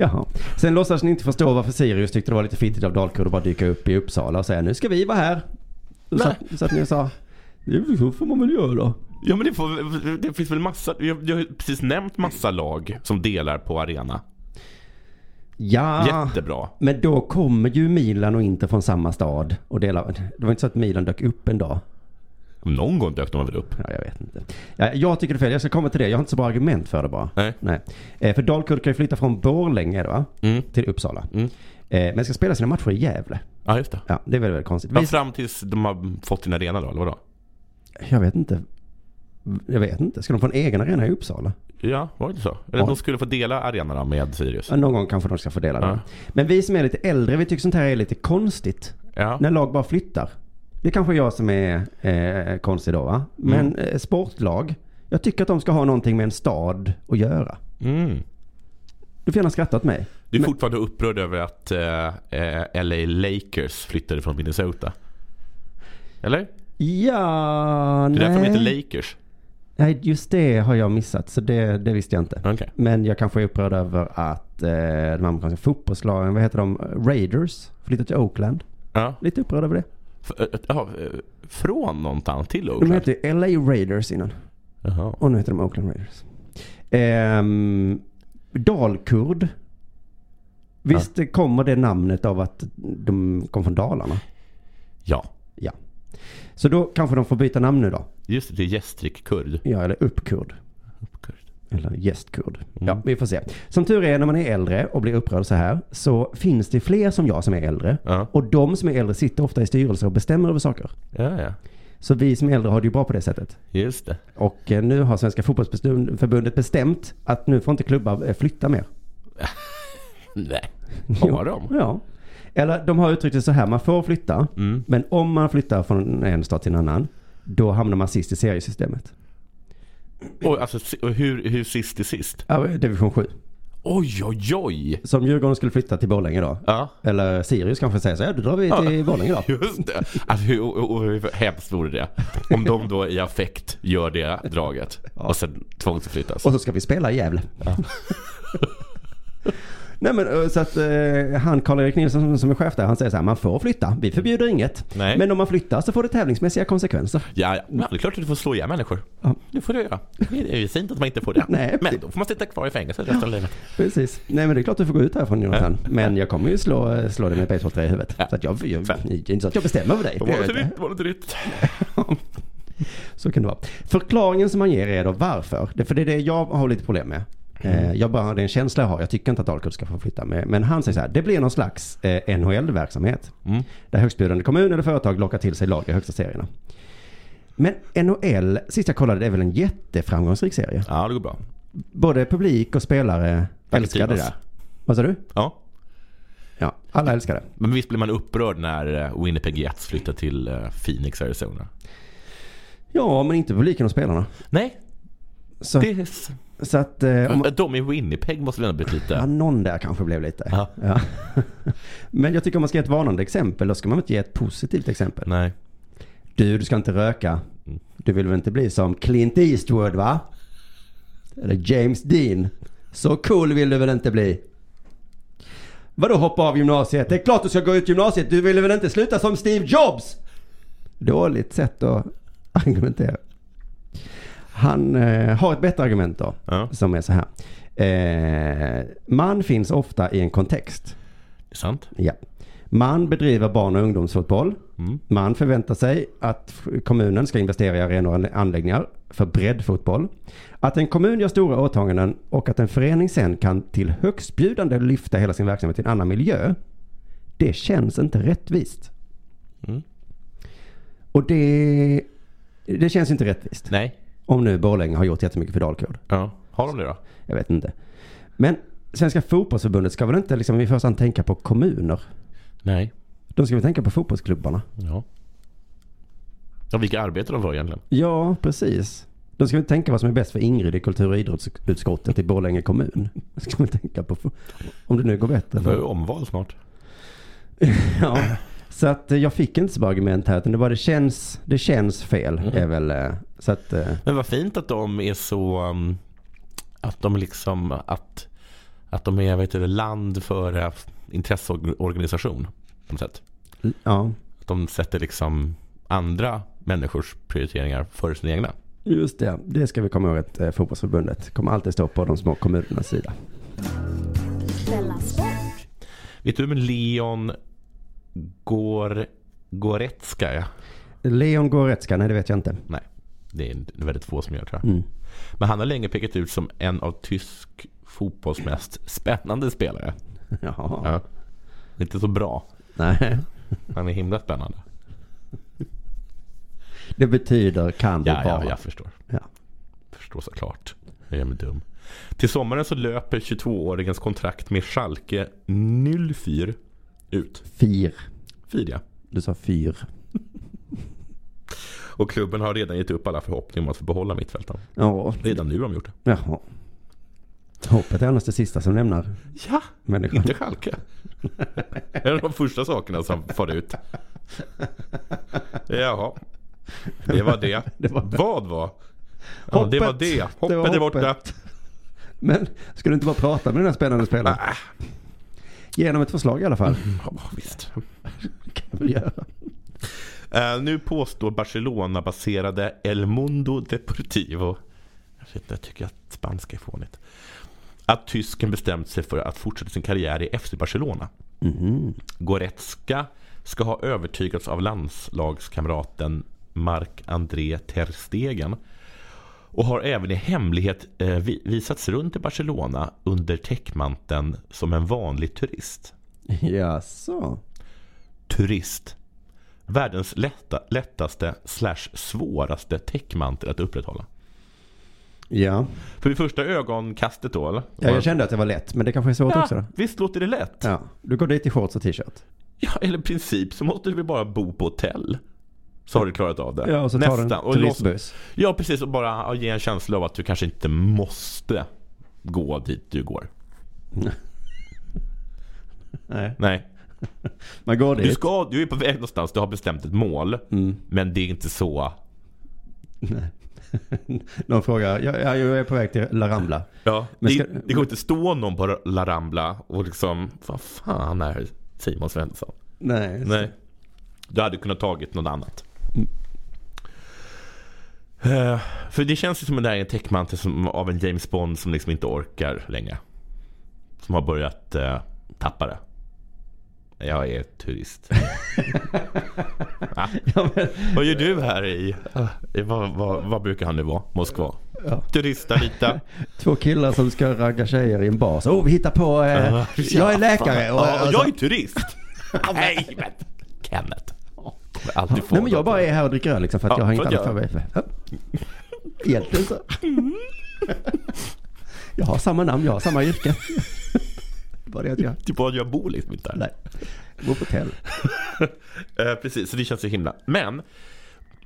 Speaker 1: Jaha. Sen låtsas ni inte förstå varför Sirius tyckte det var lite fittigt av Dalkurd att bara dyka upp i Uppsala och säga nu ska vi vara här. Så, att- så att ni sa, det får man väl göra.
Speaker 4: Ja men det, får, det finns väl massa, jag, jag har ju precis nämnt massa lag som delar på arena.
Speaker 1: Ja.
Speaker 4: Jättebra.
Speaker 1: Men då kommer ju Milan och inte från samma stad och delar. Det var inte så att Milan dök upp en dag.
Speaker 4: Någon gång dök de väl upp.
Speaker 1: Ja, jag vet inte. Ja, jag tycker det är fel. Jag ska komma till det. Jag har inte så bra argument för det bara.
Speaker 4: Nej.
Speaker 1: Nej. Eh, för Dalkurd kan ju flytta från Borlänge då, va?
Speaker 4: Mm.
Speaker 1: till Uppsala.
Speaker 4: Mm.
Speaker 1: Eh, men ska spela sina matcher i Gävle.
Speaker 4: Ja just det.
Speaker 1: Ja, det är väl väldigt konstigt.
Speaker 4: Men
Speaker 1: Vi-
Speaker 4: fram tills de har fått sin arena då, eller vadå?
Speaker 1: Jag vet inte. Jag vet inte. Ska de få en egen arena i Uppsala?
Speaker 4: Ja, var det inte så? Eller
Speaker 1: Ja.
Speaker 4: de skulle få dela arenan med Sirius.
Speaker 1: Ja, någon gång kanske de ska få dela
Speaker 4: Ja.
Speaker 1: den. Men vi som är lite äldre, vi tycker sånt här är lite konstigt.
Speaker 4: Ja.
Speaker 1: När lag bara flyttar. Det är kanske jag som är eh, konstig då va? Men eh, sportlag. Jag tycker att de ska ha någonting med en stad att göra.
Speaker 4: Mm.
Speaker 1: Du får gärna skratta åt mig.
Speaker 4: Du är fortfarande upprörd över att eh, eh, LA Lakers flyttade från Minnesota? Eller?
Speaker 1: Ja,
Speaker 4: Det är därför de
Speaker 1: nej.
Speaker 4: heter Lakers.
Speaker 1: nej, just det har jag missat. Så det, det visste jag inte.
Speaker 4: Okej.
Speaker 1: Men jag kanske är upprörd över att eh, de amerikanska fotbollslagen, vad heter de? Raiders, flyttat till Oakland.
Speaker 4: Ja.
Speaker 1: Lite upprörd över det.
Speaker 4: F- eh, ja, eh, från någonstans till
Speaker 1: De
Speaker 4: Oakland?
Speaker 1: hette ju LA Raiders innan.
Speaker 4: Jaha.
Speaker 1: Och nu heter de Oakland Raiders. Ehm, Dalkurd. Visst kommer det namnet av att de kom från Dalarna?
Speaker 4: Ja.
Speaker 1: Ja. Så då kanske de får byta namn nu då.
Speaker 4: Just det, det är gästrik kurd.
Speaker 1: Ja, eller uppkurd.
Speaker 4: Kurd.
Speaker 1: Eller gästkurd. Ja, vi får se. Som tur är när man är äldre och blir upprörd så här så finns det fler som jag som är äldre.
Speaker 4: Ja.
Speaker 1: Och de som är äldre sitter ofta i styrelser och bestämmer över saker.
Speaker 4: Ja, ja.
Speaker 1: Så vi som är äldre har det ju bra på det sättet.
Speaker 4: Just det.
Speaker 1: Och eh, nu har Svenska Fotbollsförbundet bestämt att nu får inte klubbar eh, flytta mer.
Speaker 4: Nej. Har de?
Speaker 1: Ja. Eller de har uttryckt det så här, man får flytta. Men om man flyttar från en stad till en annan, då hamnar man sist i seriesystemet.
Speaker 4: Och, alltså, si- och hur, hur sist är sist?
Speaker 1: Ja, Division 7.
Speaker 4: Oj, oj, oj!
Speaker 1: Så om Djurgården skulle flytta till Borlänge då,
Speaker 4: Ja.
Speaker 1: eller Sirius kanske säger så här, då drar vi till Borlänge då.
Speaker 4: Just det. Alltså hur, hur, hur hemskt vore det? Om de då i affekt gör det draget och sen tvångsförflyttas.
Speaker 1: Och så ska vi spela i Gävle. Nej men eh, så att eh, han Karl-Erik Nilsson som, som är chef där, han säger så här, man får flytta, vi förbjuder inget.
Speaker 4: Nej.
Speaker 1: Men om man flyttar så får det tävlingsmässiga konsekvenser.
Speaker 4: Ja, ja. Men det är klart att du får slå ihjäl människor.
Speaker 1: Ja.
Speaker 4: Det får du göra. Det är ju fint att man inte får det.
Speaker 1: Nej,
Speaker 4: men då får man sitta kvar i fängelset resten av livet.
Speaker 1: Precis. Nej men det är klart du får gå ut härifrån Jonathan. Men jag kommer ju slå, eh, slå dig med ett basebollträ i huvudet.
Speaker 4: Ja.
Speaker 1: Så att jag, jag,
Speaker 4: Fan.
Speaker 1: det är inte så att jag bestämmer över dig.
Speaker 4: Det
Speaker 1: Det
Speaker 4: var
Speaker 1: gör
Speaker 4: inte
Speaker 1: jag inte.
Speaker 4: ditt, det var inte ditt.
Speaker 1: Så kan det vara. Förklaringen som man ger är då varför. Det, för det är det jag har lite problem med.
Speaker 4: Mm.
Speaker 1: Eh, Jag bara, det är en känsla jag har. Jag tycker inte att Dalkurd ska få flytta med. Men han säger så här, det blir någon slags eh, NHL-verksamhet.
Speaker 4: Mm.
Speaker 1: Där högstbjudande kommun eller företag lockar till sig lag i högsta serierna. Men NHL, sist jag kollade, det är väl en jätteframgångsrik serie.
Speaker 4: Ja, det går bå.
Speaker 1: Både publik och spelare älskar det
Speaker 4: Aktivas.
Speaker 1: där. Vad sa du?
Speaker 4: Ja.
Speaker 1: Ja, alla älskar det.
Speaker 4: Men visst blir man upprörd när eh, Winnipeg Jets flyttar till eh, Phoenix, Arizona?
Speaker 1: Ja, men inte publiken och spelarna.
Speaker 4: Nej,
Speaker 1: Så,
Speaker 4: det är... s-
Speaker 1: så att... eh, om-
Speaker 4: Att De i Winnipeg måste väl ändå bli
Speaker 1: Ja,
Speaker 4: lite...
Speaker 1: någon där kanske blev lite.
Speaker 4: Ja.
Speaker 1: Ja. Men jag tycker om man ska ge ett varnande exempel, då ska man väl inte ge ett positivt exempel.
Speaker 4: Nej.
Speaker 1: Du, du ska inte röka. Du vill väl inte bli som Clint Eastwood va? Eller James Dean. Så cool vill du väl inte bli? Vadå hoppa av gymnasiet? Det är klart du ska gå ut gymnasiet. Du vill väl inte sluta som Steve Jobs? Dåligt sätt att argumentera. Han eh, har ett bättre argument då.
Speaker 4: Ja.
Speaker 1: Som är så här. Eh, man finns ofta i en kontext.
Speaker 4: Det är sant.
Speaker 1: Ja. Man bedriver barn och ungdomsfotboll.
Speaker 4: Mm.
Speaker 1: Man förväntar sig att f- kommunen ska investera i arenor och anläggningar för breddfotboll. Att en kommun gör stora åtaganden och att en förening sen kan till högstbjudande lyfta hela sin verksamhet till en annan miljö. Det känns inte rättvist.
Speaker 4: Mm.
Speaker 1: Och det, det känns inte rättvist.
Speaker 4: Nej.
Speaker 1: Om nu Borlänge har gjort jättemycket för Dalkurd.
Speaker 4: Ja. Har de det då?
Speaker 1: Jag vet inte. Men Svenska fotbollsförbundet ska väl inte liksom i första hand tänka på kommuner?
Speaker 4: Nej.
Speaker 1: De ska väl tänka på fotbollsklubbarna?
Speaker 4: Ja. ja vilka arbetar de för egentligen?
Speaker 1: Ja, precis. De ska väl tänka vad som är bäst för Ingrid i kultur och idrottsutskottet i Borlänge kommun. Det ska man tänka på fo- om det nu går bättre.
Speaker 4: Det var ju omval snart.
Speaker 1: Ja. Så att eh, jag fick inte så bra argument här utan det bara det känns, det känns fel. Är väl, eh, så att, eh,
Speaker 4: Men vad fint att de är så... um, Att de liksom... Att, att de är vet du, land för eh, intresseorganisation. På något sätt.
Speaker 1: ja,
Speaker 4: Att de sätter liksom andra människors prioriteringar före sina egna.
Speaker 1: just det. Det ska vi komma ihåg att eh, fotbollsförbundet kommer alltid stå på de små kommunernas sida.
Speaker 3: Della Sport.
Speaker 4: Vet du vem Leon Gor, Goretzka är?
Speaker 1: Leon Goretzka, nej det vet jag inte.
Speaker 4: Nej, det är väldigt få som gör tror jag.
Speaker 1: Mm.
Speaker 4: Men han har länge pekat ut som en av tysk fotbolls mest spännande spelare.
Speaker 1: Jaha.
Speaker 4: Ja. Inte så bra.
Speaker 1: Nej.
Speaker 4: Han är himla spännande.
Speaker 1: Det betyder kan det
Speaker 4: Ja,
Speaker 1: vara.
Speaker 4: ja, jag förstår.
Speaker 1: Ja.
Speaker 4: Förstår såklart. Jag är mig dum. Till sommaren så löper 22-åringens kontrakt med Schalke 04 ut.
Speaker 1: Fyr.
Speaker 4: Fyr, ja.
Speaker 1: Du sa fyr.
Speaker 4: Och klubben har redan gett upp alla förhoppningar om att få behålla mittfältaren.
Speaker 1: Ja,
Speaker 4: Redan nu har de gjort det.
Speaker 1: jaha. Hoppet är annars det sista som lämnar
Speaker 4: Ja,
Speaker 1: människan.
Speaker 4: inte Schalke. Det är de första sakerna som far ut. Jaha. Det var det.
Speaker 1: Det var-
Speaker 4: Vad var? Ja, det var
Speaker 1: Hoppet.
Speaker 4: det.
Speaker 1: Det var
Speaker 4: Hoppet är borta.
Speaker 1: hoppet. Men ska du inte bara prata med den här spännande spelaren?
Speaker 4: Ah.
Speaker 1: Genom ett förslag i alla fall.
Speaker 4: Ja, visst.
Speaker 1: Kan vi göra.
Speaker 4: Eh, nu påstår Barcelona-baserade El Mundo Deportivo. Jag vet inte, jag tycker att spanska är fånigt. Att tysken bestämt sig för att fortsätta sin karriär i FC Barcelona. Goretzka ska ha övertygats av landslagskamraten Marc-André Ter Stegen och har även i hemlighet eh, vi- visats runt i Barcelona under täckmanteln som en vanlig turist
Speaker 1: Jaså?
Speaker 4: turist. Världens lätta, lättaste slash svåraste täckmantel att upprätthålla.
Speaker 1: Ja.
Speaker 4: För vid första ögonkastet då eller?
Speaker 1: ja, jag kände att det var lätt, men det kanske är svårt också då.
Speaker 4: ja, visst låter det lätt? Ja.
Speaker 1: Ja, du går dit i shorts och t-shirt.
Speaker 4: eller i princip så måste du väl bara bo på hotell. Så har du klarat av det.
Speaker 1: Ja, och så tar du
Speaker 4: Nästan.
Speaker 1: en
Speaker 4: Och lås-
Speaker 1: turistbuss.
Speaker 4: Ja, precis. Och bara ja, ge en känsla av att du kanske inte måste gå dit du går.
Speaker 1: Nej.
Speaker 4: Nej.
Speaker 1: Man går dit. Mm.
Speaker 4: Du, ska, du är på väg någonstans, du har bestämt ett mål. Men det är inte så...
Speaker 1: Nej. Någon frågar, jag, jag jag är på väg till La Rambla.
Speaker 4: Ja,
Speaker 1: Men
Speaker 4: det,
Speaker 1: ska-
Speaker 4: det går inte stå någon på La Rambla och liksom, vad fan är Simon Svensson?
Speaker 1: Nej. Mm.
Speaker 4: Nej. Du hade kunnat tagit något annat. Eh, för det känns ju som att det här är en täckmantel som, av en James Bond som liksom inte orkar längre. Som har börjat eh, tappa det. Jag är turist.
Speaker 1: Ja, men,
Speaker 4: vad gör du här i, i vad, vad, vad brukar han nu vara? Moskva?
Speaker 1: Ja.
Speaker 4: Turista lite.
Speaker 1: två killar som ska ragga tjejer i en bar. Så, oh, vi hittar på, eh, jag är läkare. Och, alltså-
Speaker 4: Ja,
Speaker 1: och så-
Speaker 4: jag är turist. Nej men Kenneth. Kommer Alltid få
Speaker 1: Nej men jag
Speaker 4: något.
Speaker 1: bara är här och dricker öl liksom för att
Speaker 4: Ja,
Speaker 1: jag har
Speaker 4: för
Speaker 1: inget annat
Speaker 4: att
Speaker 1: för mig. Ja. Egentligen så. Jag har samma namn, jag har samma yrke. Bara det att jag...
Speaker 4: Typ bara jag bor liksom inte här.
Speaker 1: Nej. Jag bor på hotell.
Speaker 4: Eh, precis, så det känns så himla. Men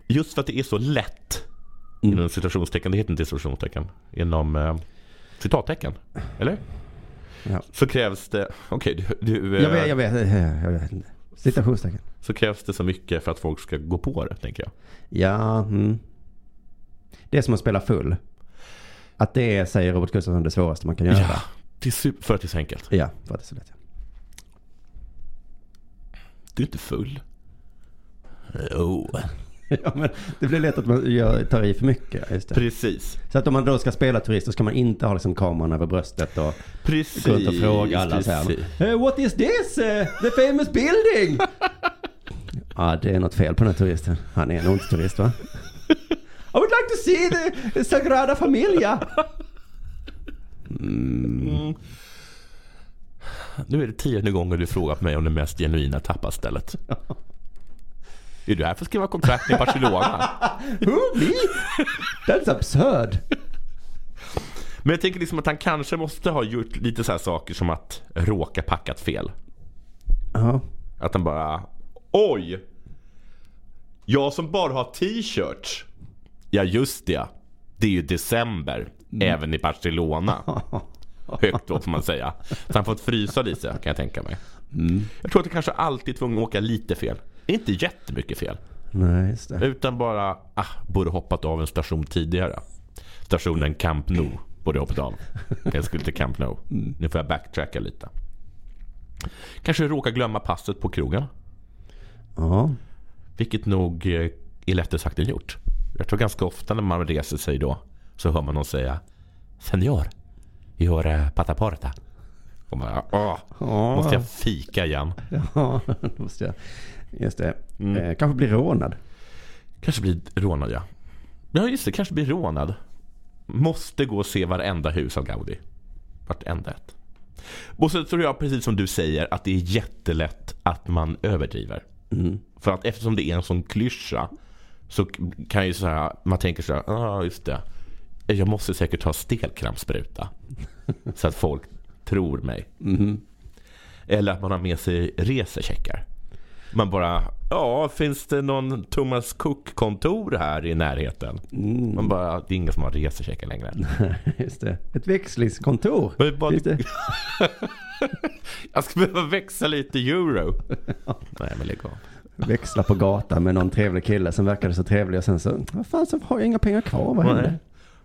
Speaker 4: just för att det är så lätt
Speaker 1: Mm.
Speaker 4: inom situationstecken, det heter inte situationstecken, inom eh, citattecken, eller?
Speaker 1: Ja.
Speaker 4: Så krävs det, okej du, du, eh,
Speaker 1: Jag vet, jag vet. eh, Jag vet. inte. Citationstecken.
Speaker 4: så krävs det så mycket för att folk ska gå på det tänker jag.
Speaker 1: Ja. Mm. Det är som att spela full. Att det är, säger Robert Gustafsson, det svåraste man kan göra. Ja,
Speaker 4: det är super, för att det är så enkelt.
Speaker 1: för att det är så lätt.
Speaker 4: Du är inte full. Jo,
Speaker 1: Oh. Ja, men det blir lätt att man gör, tar i för mycket. Just det.
Speaker 4: precis.
Speaker 1: Så att om man då ska spela turist så ska man inte ha liksom kameran över bröstet och
Speaker 4: Precis.
Speaker 1: Gå runt och fråga alla så här.
Speaker 4: precis.
Speaker 1: "Eh, what is this? Eh, the famous building? ja, det är något fel på den här turisten. Han är nog inte turist va? I would like to see the- the Sagrada Familia.
Speaker 4: Nu är det tionde gånger du frågar på mig om det mest genuina tapasstället. Är du här för att skriva kontrakt i Barcelona?
Speaker 1: Who me? That's absurd.
Speaker 4: Men jag tänker liksom att han kanske måste ha gjort lite så här saker som att råka packat fel.
Speaker 1: Ja,
Speaker 4: Att han bara Oj! Jag som bara har t-shirts. Ja just det. Det är ju december. Även i Barcelona. Högt då får man säga. Så han fått frysa lite kan jag tänka mig. Jag tror att han kanske alltid är tvungen att åka lite fel. Inte jättemycket fel.
Speaker 1: nej just det.
Speaker 4: Utan bara, ah, borde hoppat av en station tidigare. Stationen Camp Nou borde hoppat av. Jag skulle till Camp Nou. Nu får jag backtracka lite. Kanske råkar glömma passet på krogen.
Speaker 1: Ja,
Speaker 4: Vilket nog eh, är lättare sagt än gjort. Jag tror ganska ofta när man reser sig då så hör man någon säga Senor, gör eh, pataporta. Och man, ah,
Speaker 1: Ja.
Speaker 4: måste jag fika igen?
Speaker 1: ja, det måste jag. Just det. Eh, kanske blir rånad.
Speaker 4: Kanske blir rånad ja. Ja just det, kanske blir rånad. Måste gå och se varenda hus av Gaudi. Vartenda ett. Och så tror jag precis som du säger att det är jättelätt att man överdriver.
Speaker 1: Mm.
Speaker 4: För att eftersom det är en sån klyscha så kan ju så här, man tänker så här, ja ah, just det. Jag måste säkert ha stelkrampsspruta. så att folk tror mig. Eller att man har med sig resecheckar. Man bara, ja finns det någon Thomas Cook-kontor här i närheten? Man bara, det är ingen som har resecheckar längre.
Speaker 1: Just det. Ett växlingskontor.
Speaker 4: Men bara-
Speaker 1: Just det.
Speaker 4: Jag ska behöva växa lite euro. Nej men lägg av.
Speaker 1: Växla på gatan med någon trevlig kille som verkade så trevlig och sen så, vad fan så har jag inga pengar kvar, vad hände?
Speaker 4: Nej.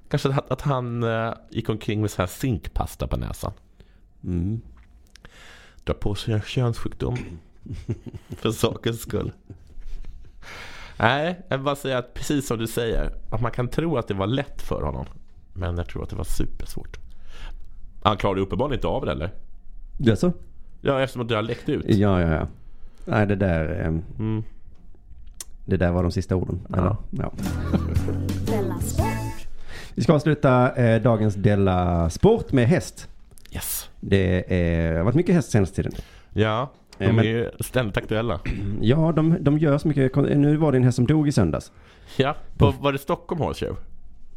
Speaker 4: Kanske att, att han eh, gick omkring med så här zinkpasta på näsan.
Speaker 1: Mm.
Speaker 4: Dra på sig en könssjukdom. För sakens skull. Nej, jag vill bara säga att precis som du säger. Att man kan tro att det var lätt för honom. Men jag tror att det var supersvårt. Han klarade uppenbarligen inte av det eller?
Speaker 1: Det är så?
Speaker 4: Ja, eftersom att det har läckt ut.
Speaker 1: Ja, ja, ja. Nej, det där... ehm,
Speaker 4: Mm.
Speaker 1: Det där var de sista orden.
Speaker 4: Ja.
Speaker 1: Eller? Ja.
Speaker 3: Della Sport.
Speaker 1: Vi ska avsluta eh, dagens Della Sport med häst.
Speaker 4: Yes.
Speaker 1: Det är- har varit mycket häst senaste tiden.
Speaker 4: Ja, de
Speaker 1: Eh, men-
Speaker 4: är ju ständigt aktuella.
Speaker 1: Ja, de, de gör så mycket. kon- Nu var det en häst som dog i söndags.
Speaker 4: Ja, på, var det Stockholm Horse Show?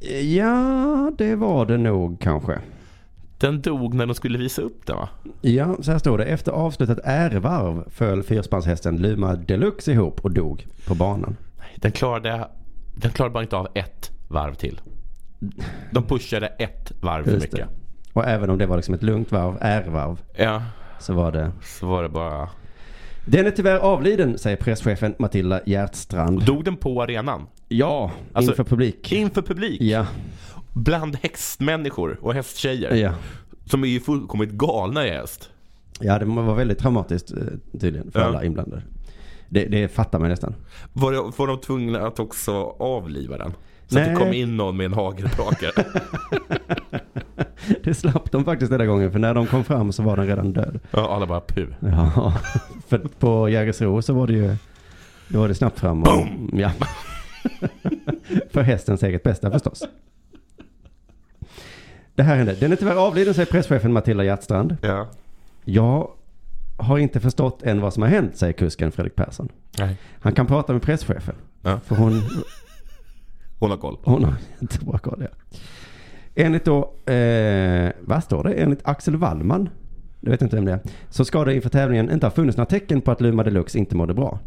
Speaker 1: Eh, Ja, det var det nog kanske.
Speaker 4: Den dog när de skulle visa upp den va?
Speaker 1: Ja, så här står det. Efter avslutat ärevarv föll fyrspanshästen Luma Deluxe ihop och dog på banan.
Speaker 4: Den klarade, den klarade bara inte av ett varv till. De pushade ett varv för
Speaker 1: Just det.
Speaker 4: mycket.
Speaker 1: Och även om det var liksom ett lugnt varv, ärevarv,
Speaker 4: Ja,
Speaker 1: så var det...
Speaker 4: så var det bara
Speaker 1: Den är tyvärr avliden, säger presschefen Matilda Hjärtstrand.
Speaker 4: Dog den på arenan?
Speaker 1: Ja,
Speaker 4: Alltså-
Speaker 1: inför publik.
Speaker 4: Inför publik?
Speaker 1: Ja,
Speaker 4: Bland hästmänniskor och hästtjejer?
Speaker 1: ja.
Speaker 4: Som är ju fullkomligt galna i häst.
Speaker 1: Ja, det var väldigt traumatiskt eh, tydligen för
Speaker 4: Ja.
Speaker 1: alla inblandade. Det, det fattar man nästan.
Speaker 4: Var, det- var de tvungna att också avliva den? Så att
Speaker 1: Nej.
Speaker 4: det kom in någon med en hagelbrakare.
Speaker 1: Det slapp de faktiskt den där gången, för när de kom fram så var den redan död.
Speaker 4: ja, alla bara pu.
Speaker 1: Ja, för på Jägersro så var det ju, då var det snabbt fram. Och, ja. för hästens eget bästa förstås. Det här hände. Den är tyvärr avliden, säger presschefen Matilda Hjärtstrand.
Speaker 4: Ja.
Speaker 1: Jag har inte förstått än vad som har hänt, säger kusken Fredrik Persson.
Speaker 4: Nej.
Speaker 1: Han kan prata med presschefen.
Speaker 4: Ja.
Speaker 1: För hon,
Speaker 4: Hon har koll.
Speaker 1: hon har jättebra koll. Ja. Enligt då, eh, vad står det? Enligt Axel Wallman, du vet inte vem det är, så ska det inför tävlingen inte ha funnits några tecken på att Luma Deluxe inte mådde bra.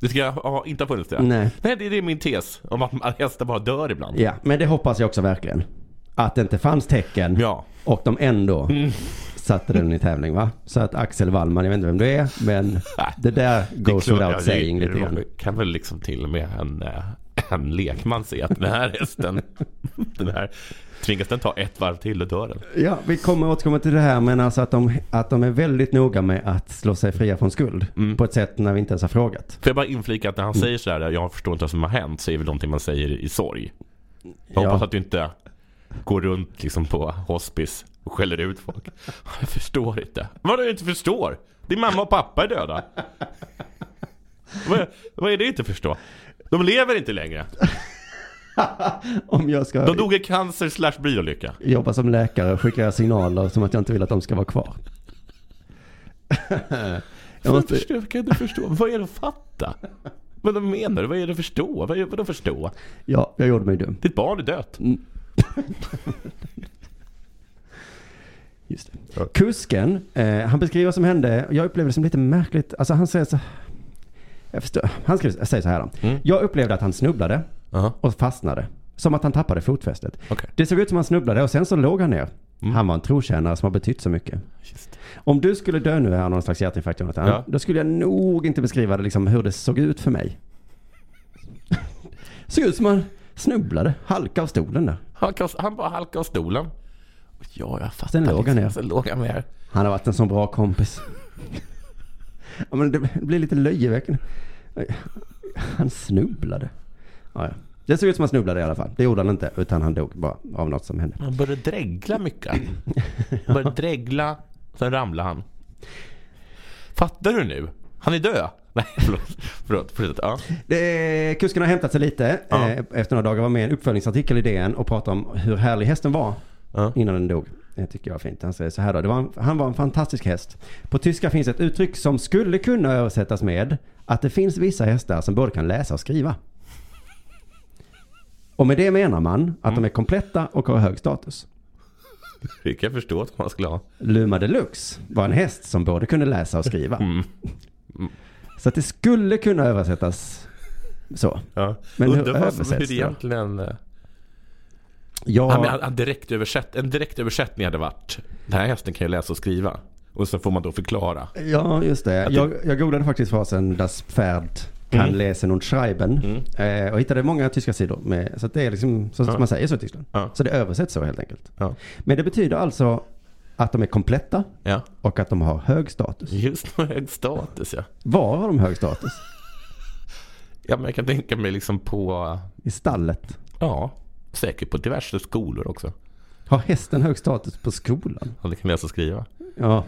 Speaker 4: Det ska ja, inte ha funnits det.
Speaker 1: Nej.
Speaker 4: Nej, det det är min tes om att hästar bara dör ibland.
Speaker 1: Ja, men det hoppas jag också verkligen. Att det inte fanns tecken
Speaker 4: Ja. Mm.
Speaker 1: och de ändå satte den i tävling va? Så att Axel Wallman, jag vet inte vem du är, men det där goes
Speaker 4: klart-
Speaker 1: without
Speaker 4: ja, det-
Speaker 1: saying lite grann.
Speaker 4: det kan väl liksom till och med en, eh, en lekman se att den här hästen, den här, tvingas den ta ett varv till och dör den.
Speaker 1: Ja, vi kommer återkomma till det här men alltså att de, att de är väldigt noga med att slå sig fria från skuld.
Speaker 4: Mm.
Speaker 1: På ett sätt när vi inte ens har frågat.
Speaker 4: Får jag bara inflika att när han säger sådär, jag förstår inte vad som har hänt, så är väl någonting man säger i sorg. Jag
Speaker 1: Ja.
Speaker 4: hoppas att du inte går runt liksom på hospice och skäller ut folk. Jag förstår inte. Vadå du inte förstår? Din mamma och pappa är döda. vad, vad är det inte förstå? De lever inte längre.
Speaker 1: Om jag ska
Speaker 4: De dog i cancer slash bilolycka.
Speaker 1: jobba som läkare skickar jag signaler som att jag inte vill att de ska vara kvar. jag
Speaker 4: Jag
Speaker 1: måste,
Speaker 4: förstår, jag kan inte förstå. Vad är det att fatta? Vad de menar du? Vad är det att förstå? Vad är vad de förstå?
Speaker 1: ja, jag gjorde mig dum.
Speaker 4: Ditt barn är dött.
Speaker 1: Mm. Just det. Kusken, eh, han beskriver vad som hände. Jag upplevde det som lite märkligt. Alltså han säger så jag förstår. Han skriver, säger så här då.
Speaker 4: Mm.
Speaker 1: Jag upplevde att han snubblade
Speaker 4: Jaha,
Speaker 1: och fastnade. Som att han tappade fotfästet.
Speaker 4: okej.
Speaker 1: Det såg ut som han snubblade och sen så låg han ner. Han var en trotjänare som har betytt så mycket. Om du skulle dö nu här någon slags hjärtinfarkt Jonathan,
Speaker 4: Ja.
Speaker 1: då skulle jag nog inte beskriva det, liksom, hur det såg ut för mig. såg ut som han snubblade, halkade av stolen där.
Speaker 4: Han, kast, han bara halkade av stolen. Och Ja, jag fattar.
Speaker 1: Sen låg han ner.
Speaker 4: Sen låg han ner.
Speaker 1: Han har varit en sån bra kompis. ja, men det blir lite löjeväckande. Han snubblade. Ja, ja. Det såg ut som han snubblade i alla fall. Det gjorde han inte, utan han dog bara av något som hände.
Speaker 4: Han började dregla mycket. Han började dregla, sen ramlade han. Fattar du nu? Han är död. Nej, förlåt. Förlåt, förlåt. Ja.
Speaker 1: Det, kusken har hämtat sig lite
Speaker 4: Ja.
Speaker 1: eh, efter några dagar. Var med i en uppföljningsartikel i DN och pratade om hur härlig hästen var
Speaker 4: Ja.
Speaker 1: innan den dog. Det tycker jag är fint. Han säger så här då. Det var en, han var en fantastisk häst. På tyska finns ett uttryck som skulle kunna översättas med att det finns vissa hästar som både kan läsa och skriva. Och med det menar man att
Speaker 4: Mm.
Speaker 1: de är kompletta och har hög status.
Speaker 4: Det kan jag förstå att han skulle ha.
Speaker 1: Luma Deluxe var en häst som både kunde läsa och skriva.
Speaker 4: Mm.
Speaker 1: Så att det skulle kunna översättas så.
Speaker 4: Ja.
Speaker 1: Men hur
Speaker 4: Undrar vad som- hur
Speaker 1: översätts
Speaker 4: det
Speaker 1: det då?
Speaker 4: egentligen... eh,
Speaker 1: Jag,
Speaker 4: Han, han, han direktöversätt, en direktöversättning hade varit Den här hästen kan ju läsa och skriva. Och så får man då förklara.
Speaker 1: Ja, just det. Jag, jag googlade faktiskt frasen Das Pferd kan
Speaker 4: Mm.
Speaker 1: lesen und schreiben. Eh, och hittade många tyska sidor. Med, så att det är liksom så att
Speaker 4: Ja.
Speaker 1: man säger så i Tyskland.
Speaker 4: Ja.
Speaker 1: Så det översätts så helt enkelt.
Speaker 4: Ja.
Speaker 1: Men det betyder alltså att de är kompletta
Speaker 4: ja.
Speaker 1: och att de har hög status.
Speaker 4: Just med hög status ja.
Speaker 1: Var har de hög status?
Speaker 4: Ja men jag kan tänka mig liksom på
Speaker 1: I stallet.
Speaker 4: Ja, säkert på diverse skolor också.
Speaker 1: Har hästen hög status på skolan?
Speaker 4: Och det kan läsa och skriva.
Speaker 1: Ja.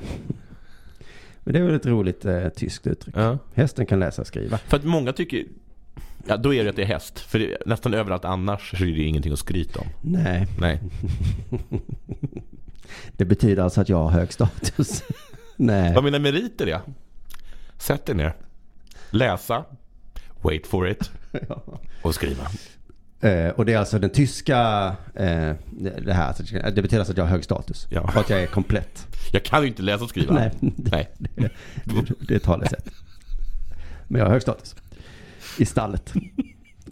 Speaker 1: Men det är väl ett roligt eh, tyskt uttryck.
Speaker 4: Ja.
Speaker 1: Hästen kan läsa och skriva.
Speaker 4: För att många tycker Ja, då är det att det är häst. För det, nästan överallt annars så är det ingenting att skryta om.
Speaker 1: Nej,
Speaker 4: Nej.
Speaker 1: det betyder alltså att jag har hög status. Nej.
Speaker 4: Vad mina meriter är? Sätt dig ner. Läsa. Wait for it. Och skriva.
Speaker 1: Eh, och det är alltså den tyska, eh, det det här, alltså, det betyder alltså att jag har hög status.
Speaker 4: Ja.
Speaker 1: Och att jag är komplett.
Speaker 4: Jag kan ju inte läsa och skriva.
Speaker 1: Nej.
Speaker 4: Nej.
Speaker 1: Det, det är talesätt. Men jag har hög status. I stallet.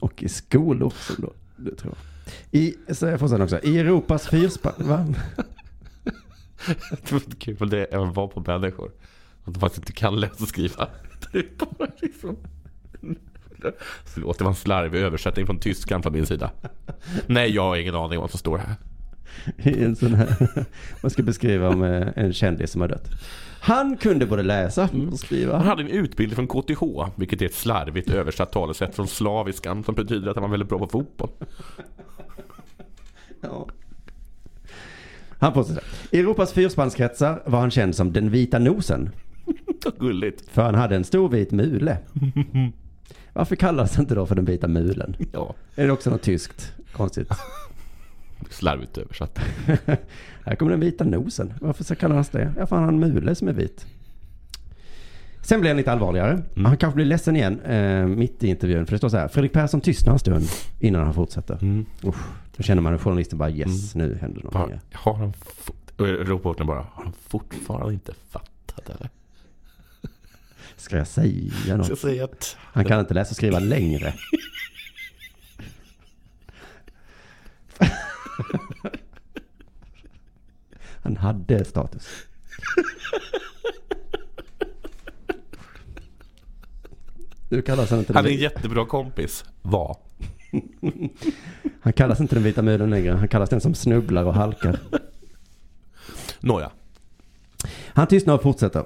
Speaker 1: Och i skolor som då, det tror jag. I, så jag får sen också, i Europas fyrspann, va?
Speaker 4: Det var kul det även var på människor. Att de faktiskt inte kan läsa och skriva. Det är bara liksom... Förlåt, det var en slarvig översättning från tyskan från min sida. Nej, jag har ingen aning om vad som står här.
Speaker 1: I en sån här, man ska beskriva om eh, en kändis som har dött. Han kunde både läsa och
Speaker 4: Han
Speaker 1: skriva.
Speaker 4: hade en utbildning från KTH, vilket är ett slarvigt översatt talesätt från slaviskan som betyder att han var väldigt bra på fotboll.
Speaker 1: Ja. Han påstår det. I Europas fyrspannskretsar var han känd som den vita nosen.
Speaker 4: Vad Gulligt.
Speaker 1: För han hade en stor vit mule. Varför kallas han inte då för den vita mulen?
Speaker 4: Ja,
Speaker 1: Är det också något tyskt konstigt?
Speaker 4: slarvigt översatt.
Speaker 1: Här kommer den vita nosen. Varför så kallas det? Ja, för han har en mule som är vit. Sen blir han lite allvarligare. Han kanske blir ledsen igen eh, mitt i intervjun. För det står så här. Fredrik Persson tystnar en stund innan han fortsätter.
Speaker 4: Mm.
Speaker 1: Usch, då känner man att journalisten bara yes, nu händer någonting.
Speaker 4: Har, har han... fort- och Reportern bara, har han fortfarande inte fattat eller?
Speaker 1: Ska jag säga
Speaker 4: Ska
Speaker 1: något?
Speaker 4: jag säga att...
Speaker 1: Han kan inte läsa och skriva längre. Han hade status. Nu kallas han inte
Speaker 4: Han är
Speaker 1: den,
Speaker 4: en jättebra kompis. Var.
Speaker 1: han kallas inte den vita muren längre. Han kallas den som snubblar och halkar.
Speaker 4: Nåja.
Speaker 1: Han tystnar och fortsätter.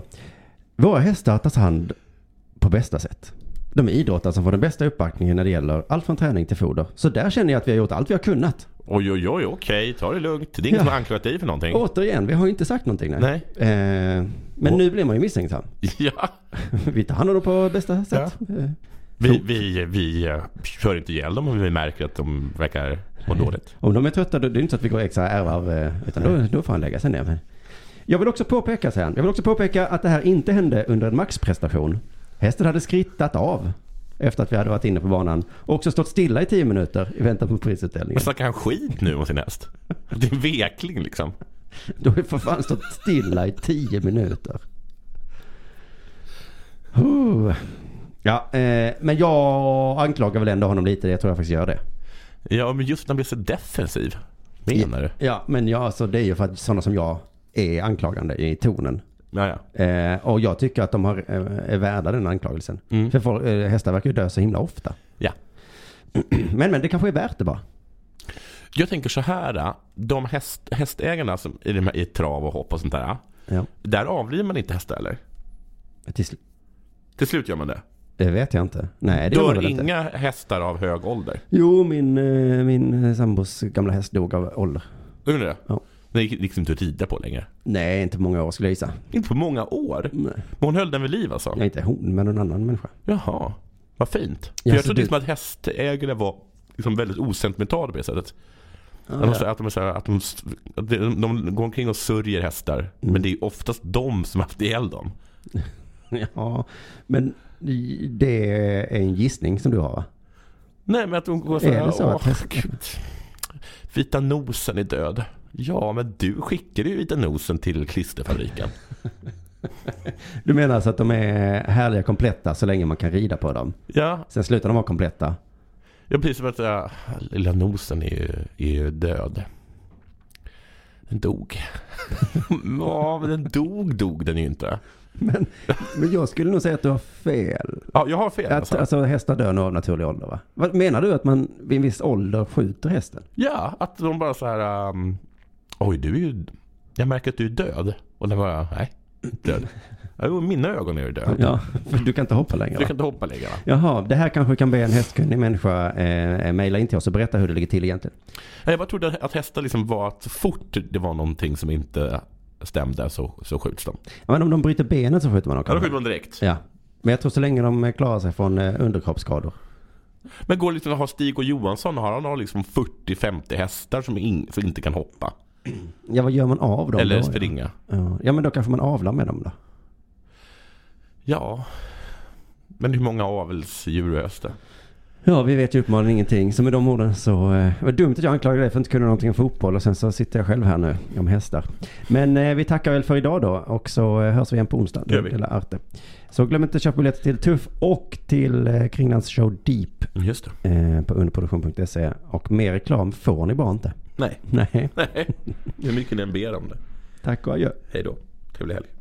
Speaker 1: Våra hästar tas hand på bästa sätt. De är idrottare som får den bästa uppbackningen när det gäller allt från träning till foder. Så där känner jag att vi har gjort allt vi har kunnat.
Speaker 4: Oj, oj, oj, okej. Ta det lugnt. Det är ingen som har anklagat dig för någonting.
Speaker 1: Återigen, vi har ju inte sagt någonting. Nej.
Speaker 4: Nej.
Speaker 1: Eh, men nu blir man ju misstänksam.
Speaker 4: Ja.
Speaker 1: Vi tar hand om dem på bästa sätt. Eh,
Speaker 4: Vi, vi, vi eh, kör inte ihjäl dem om vi märker att de verkar må dåligt.
Speaker 1: Om de är trötta, då, det är inte så att vi går extra ärvarv, eh, utan då, då får han lägga sig ner. Men jag vill också påpeka, säger han, jag vill också påpeka att det här inte hände under en maxprestation. Hästen hade skrittat av efter att vi hade varit inne på banan och också stått stilla i tio minuter i väntan på prisutdelningen.
Speaker 4: Men snackar han skit nu om sin häst? Det är en vekling liksom.
Speaker 1: Då har vi för fan stått stilla i tio minuter. Oh. Ja, eh, men jag anklagar väl ändå honom lite. Jag tror jag faktiskt gör det.
Speaker 4: Ja, men just när han blir så defensiv. Menar du?
Speaker 1: Ja, men ja, alltså, det är ju för att sådana som jag är anklagande i tonen.
Speaker 4: Ja, ja.
Speaker 1: Eh, och jag tycker att de har, eh, är värda den anklagelsen.
Speaker 4: Mm.
Speaker 1: För folk, eh, hästar verkar ju dö så himla ofta.
Speaker 4: ja.
Speaker 1: Men, men det kanske är värt det bara.
Speaker 4: Jag tänker så här. eh, De häst, hästägarna som, i, de här, i trav och hopp och sånt där. eh,
Speaker 1: Ja.
Speaker 4: Där avlivar man inte hästar eller?
Speaker 1: Till sl-
Speaker 4: Till slut gör man det.
Speaker 1: det vet jag inte. Nej, det gör man
Speaker 4: Dör
Speaker 1: väl inte.
Speaker 4: inga hästar av hög ålder?
Speaker 1: Jo, min, eh, min eh, sambos gamla häst dog av ålder.
Speaker 4: Undrar det?
Speaker 1: Ja.
Speaker 4: Det gick liksom inte att rida på längre.
Speaker 1: Nej, inte många år skulle jag gissa.
Speaker 4: Inte på många år.
Speaker 1: Nej.
Speaker 4: Men hon höll den vid liv alltså?
Speaker 1: Ja, inte hon, men en annan människa.
Speaker 4: Jaha, vad fint. För
Speaker 1: Ja,
Speaker 4: jag
Speaker 1: så
Speaker 4: trodde
Speaker 1: du-
Speaker 4: liksom att hästägare var liksom väldigt osentimentala på det sättet. att, de, så- att, de, är så här- att, de, att de, de går omkring och sörjer hästar.
Speaker 1: Mm.
Speaker 4: Men det är oftast de som har haft ihjäl dem.
Speaker 1: Ja, men det är en gissning som du har va?
Speaker 4: Nej men att de går så
Speaker 1: Är
Speaker 4: här.
Speaker 1: det så
Speaker 4: "Åh,
Speaker 1: att hästar-
Speaker 4: gud. Vita nosen är död. Ja men du skickade ju Vita nosen till klisterfabriken.
Speaker 1: Du menar alltså att de är härliga kompletta så länge man kan rida på dem.
Speaker 4: ja,
Speaker 1: Sen slutar de vara kompletta.
Speaker 4: jag precis som att äh, lilla nosen är ju, är ju död. Den dog. ja men den dog dog den ju inte.
Speaker 1: Men, men jag skulle nog säga att du har fel.
Speaker 4: Ja jag har fel
Speaker 1: Att, alltså hästar dör nog av naturlig ålder va? Vad menar du att man vid en viss ålder skjuter hästen?
Speaker 4: Ja, att de bara så här... ehm, Oj, du är ju... Jag märker att du är död. Och den bara, nej. Död. Ja, Jo, i mina ögon är du död.
Speaker 1: Ja, för du kan inte hoppa längre
Speaker 4: Du
Speaker 1: va?
Speaker 4: kan inte hoppa längre va?
Speaker 1: Jaha, det här kanske kan be en hästkunnig människa eh, mejla in till oss och berätta hur det ligger till egentligen.
Speaker 4: Nej, Jag bara trodde att hästar liksom var att så fort det var någonting som inte stämde så, så skjuts de.
Speaker 1: Ja, Men om de bryter benet så skjuter man dem
Speaker 4: Ja, då
Speaker 1: kanske?
Speaker 4: skjuter man direkt.
Speaker 1: Ja. Men jag tror så länge de eh, klarar sig från eh, underkroppsskador.
Speaker 4: Men går det liksom att ha Stig och Johansson, har han har liksom 40-50 hästar som, in, som inte kan hoppa?
Speaker 1: Ja, vad gör man av dem
Speaker 4: Eller
Speaker 1: då?
Speaker 4: springa?
Speaker 1: Ja. ja, men då kanske man avlar med dem då.
Speaker 4: Ja. Men hur många avelsdjur behövs det?
Speaker 1: Ja, vi vet ju uppenbarligen ingenting. Så med de orden så... Eh, vad dumt att jag anklagade dig för att inte kunna någonting om fotboll och sen så sitter jag själv här nu om hästar. Men eh, vi tackar väl för idag då och så eh, hörs vi igen på onsdag.
Speaker 4: Det gör vi.
Speaker 1: Eller Arte. Så glöm inte att köpa biljetter till Tuff och till eh, Kringlands show Deep
Speaker 4: Just det.
Speaker 1: eh, på underproduktion.se. E. Och mer reklam får ni bara inte.
Speaker 4: Nej.
Speaker 1: Nej,
Speaker 4: Nej. Hur mycket ni än ber om det.
Speaker 1: tack och adjö.
Speaker 4: Hej då. Trevlig helg.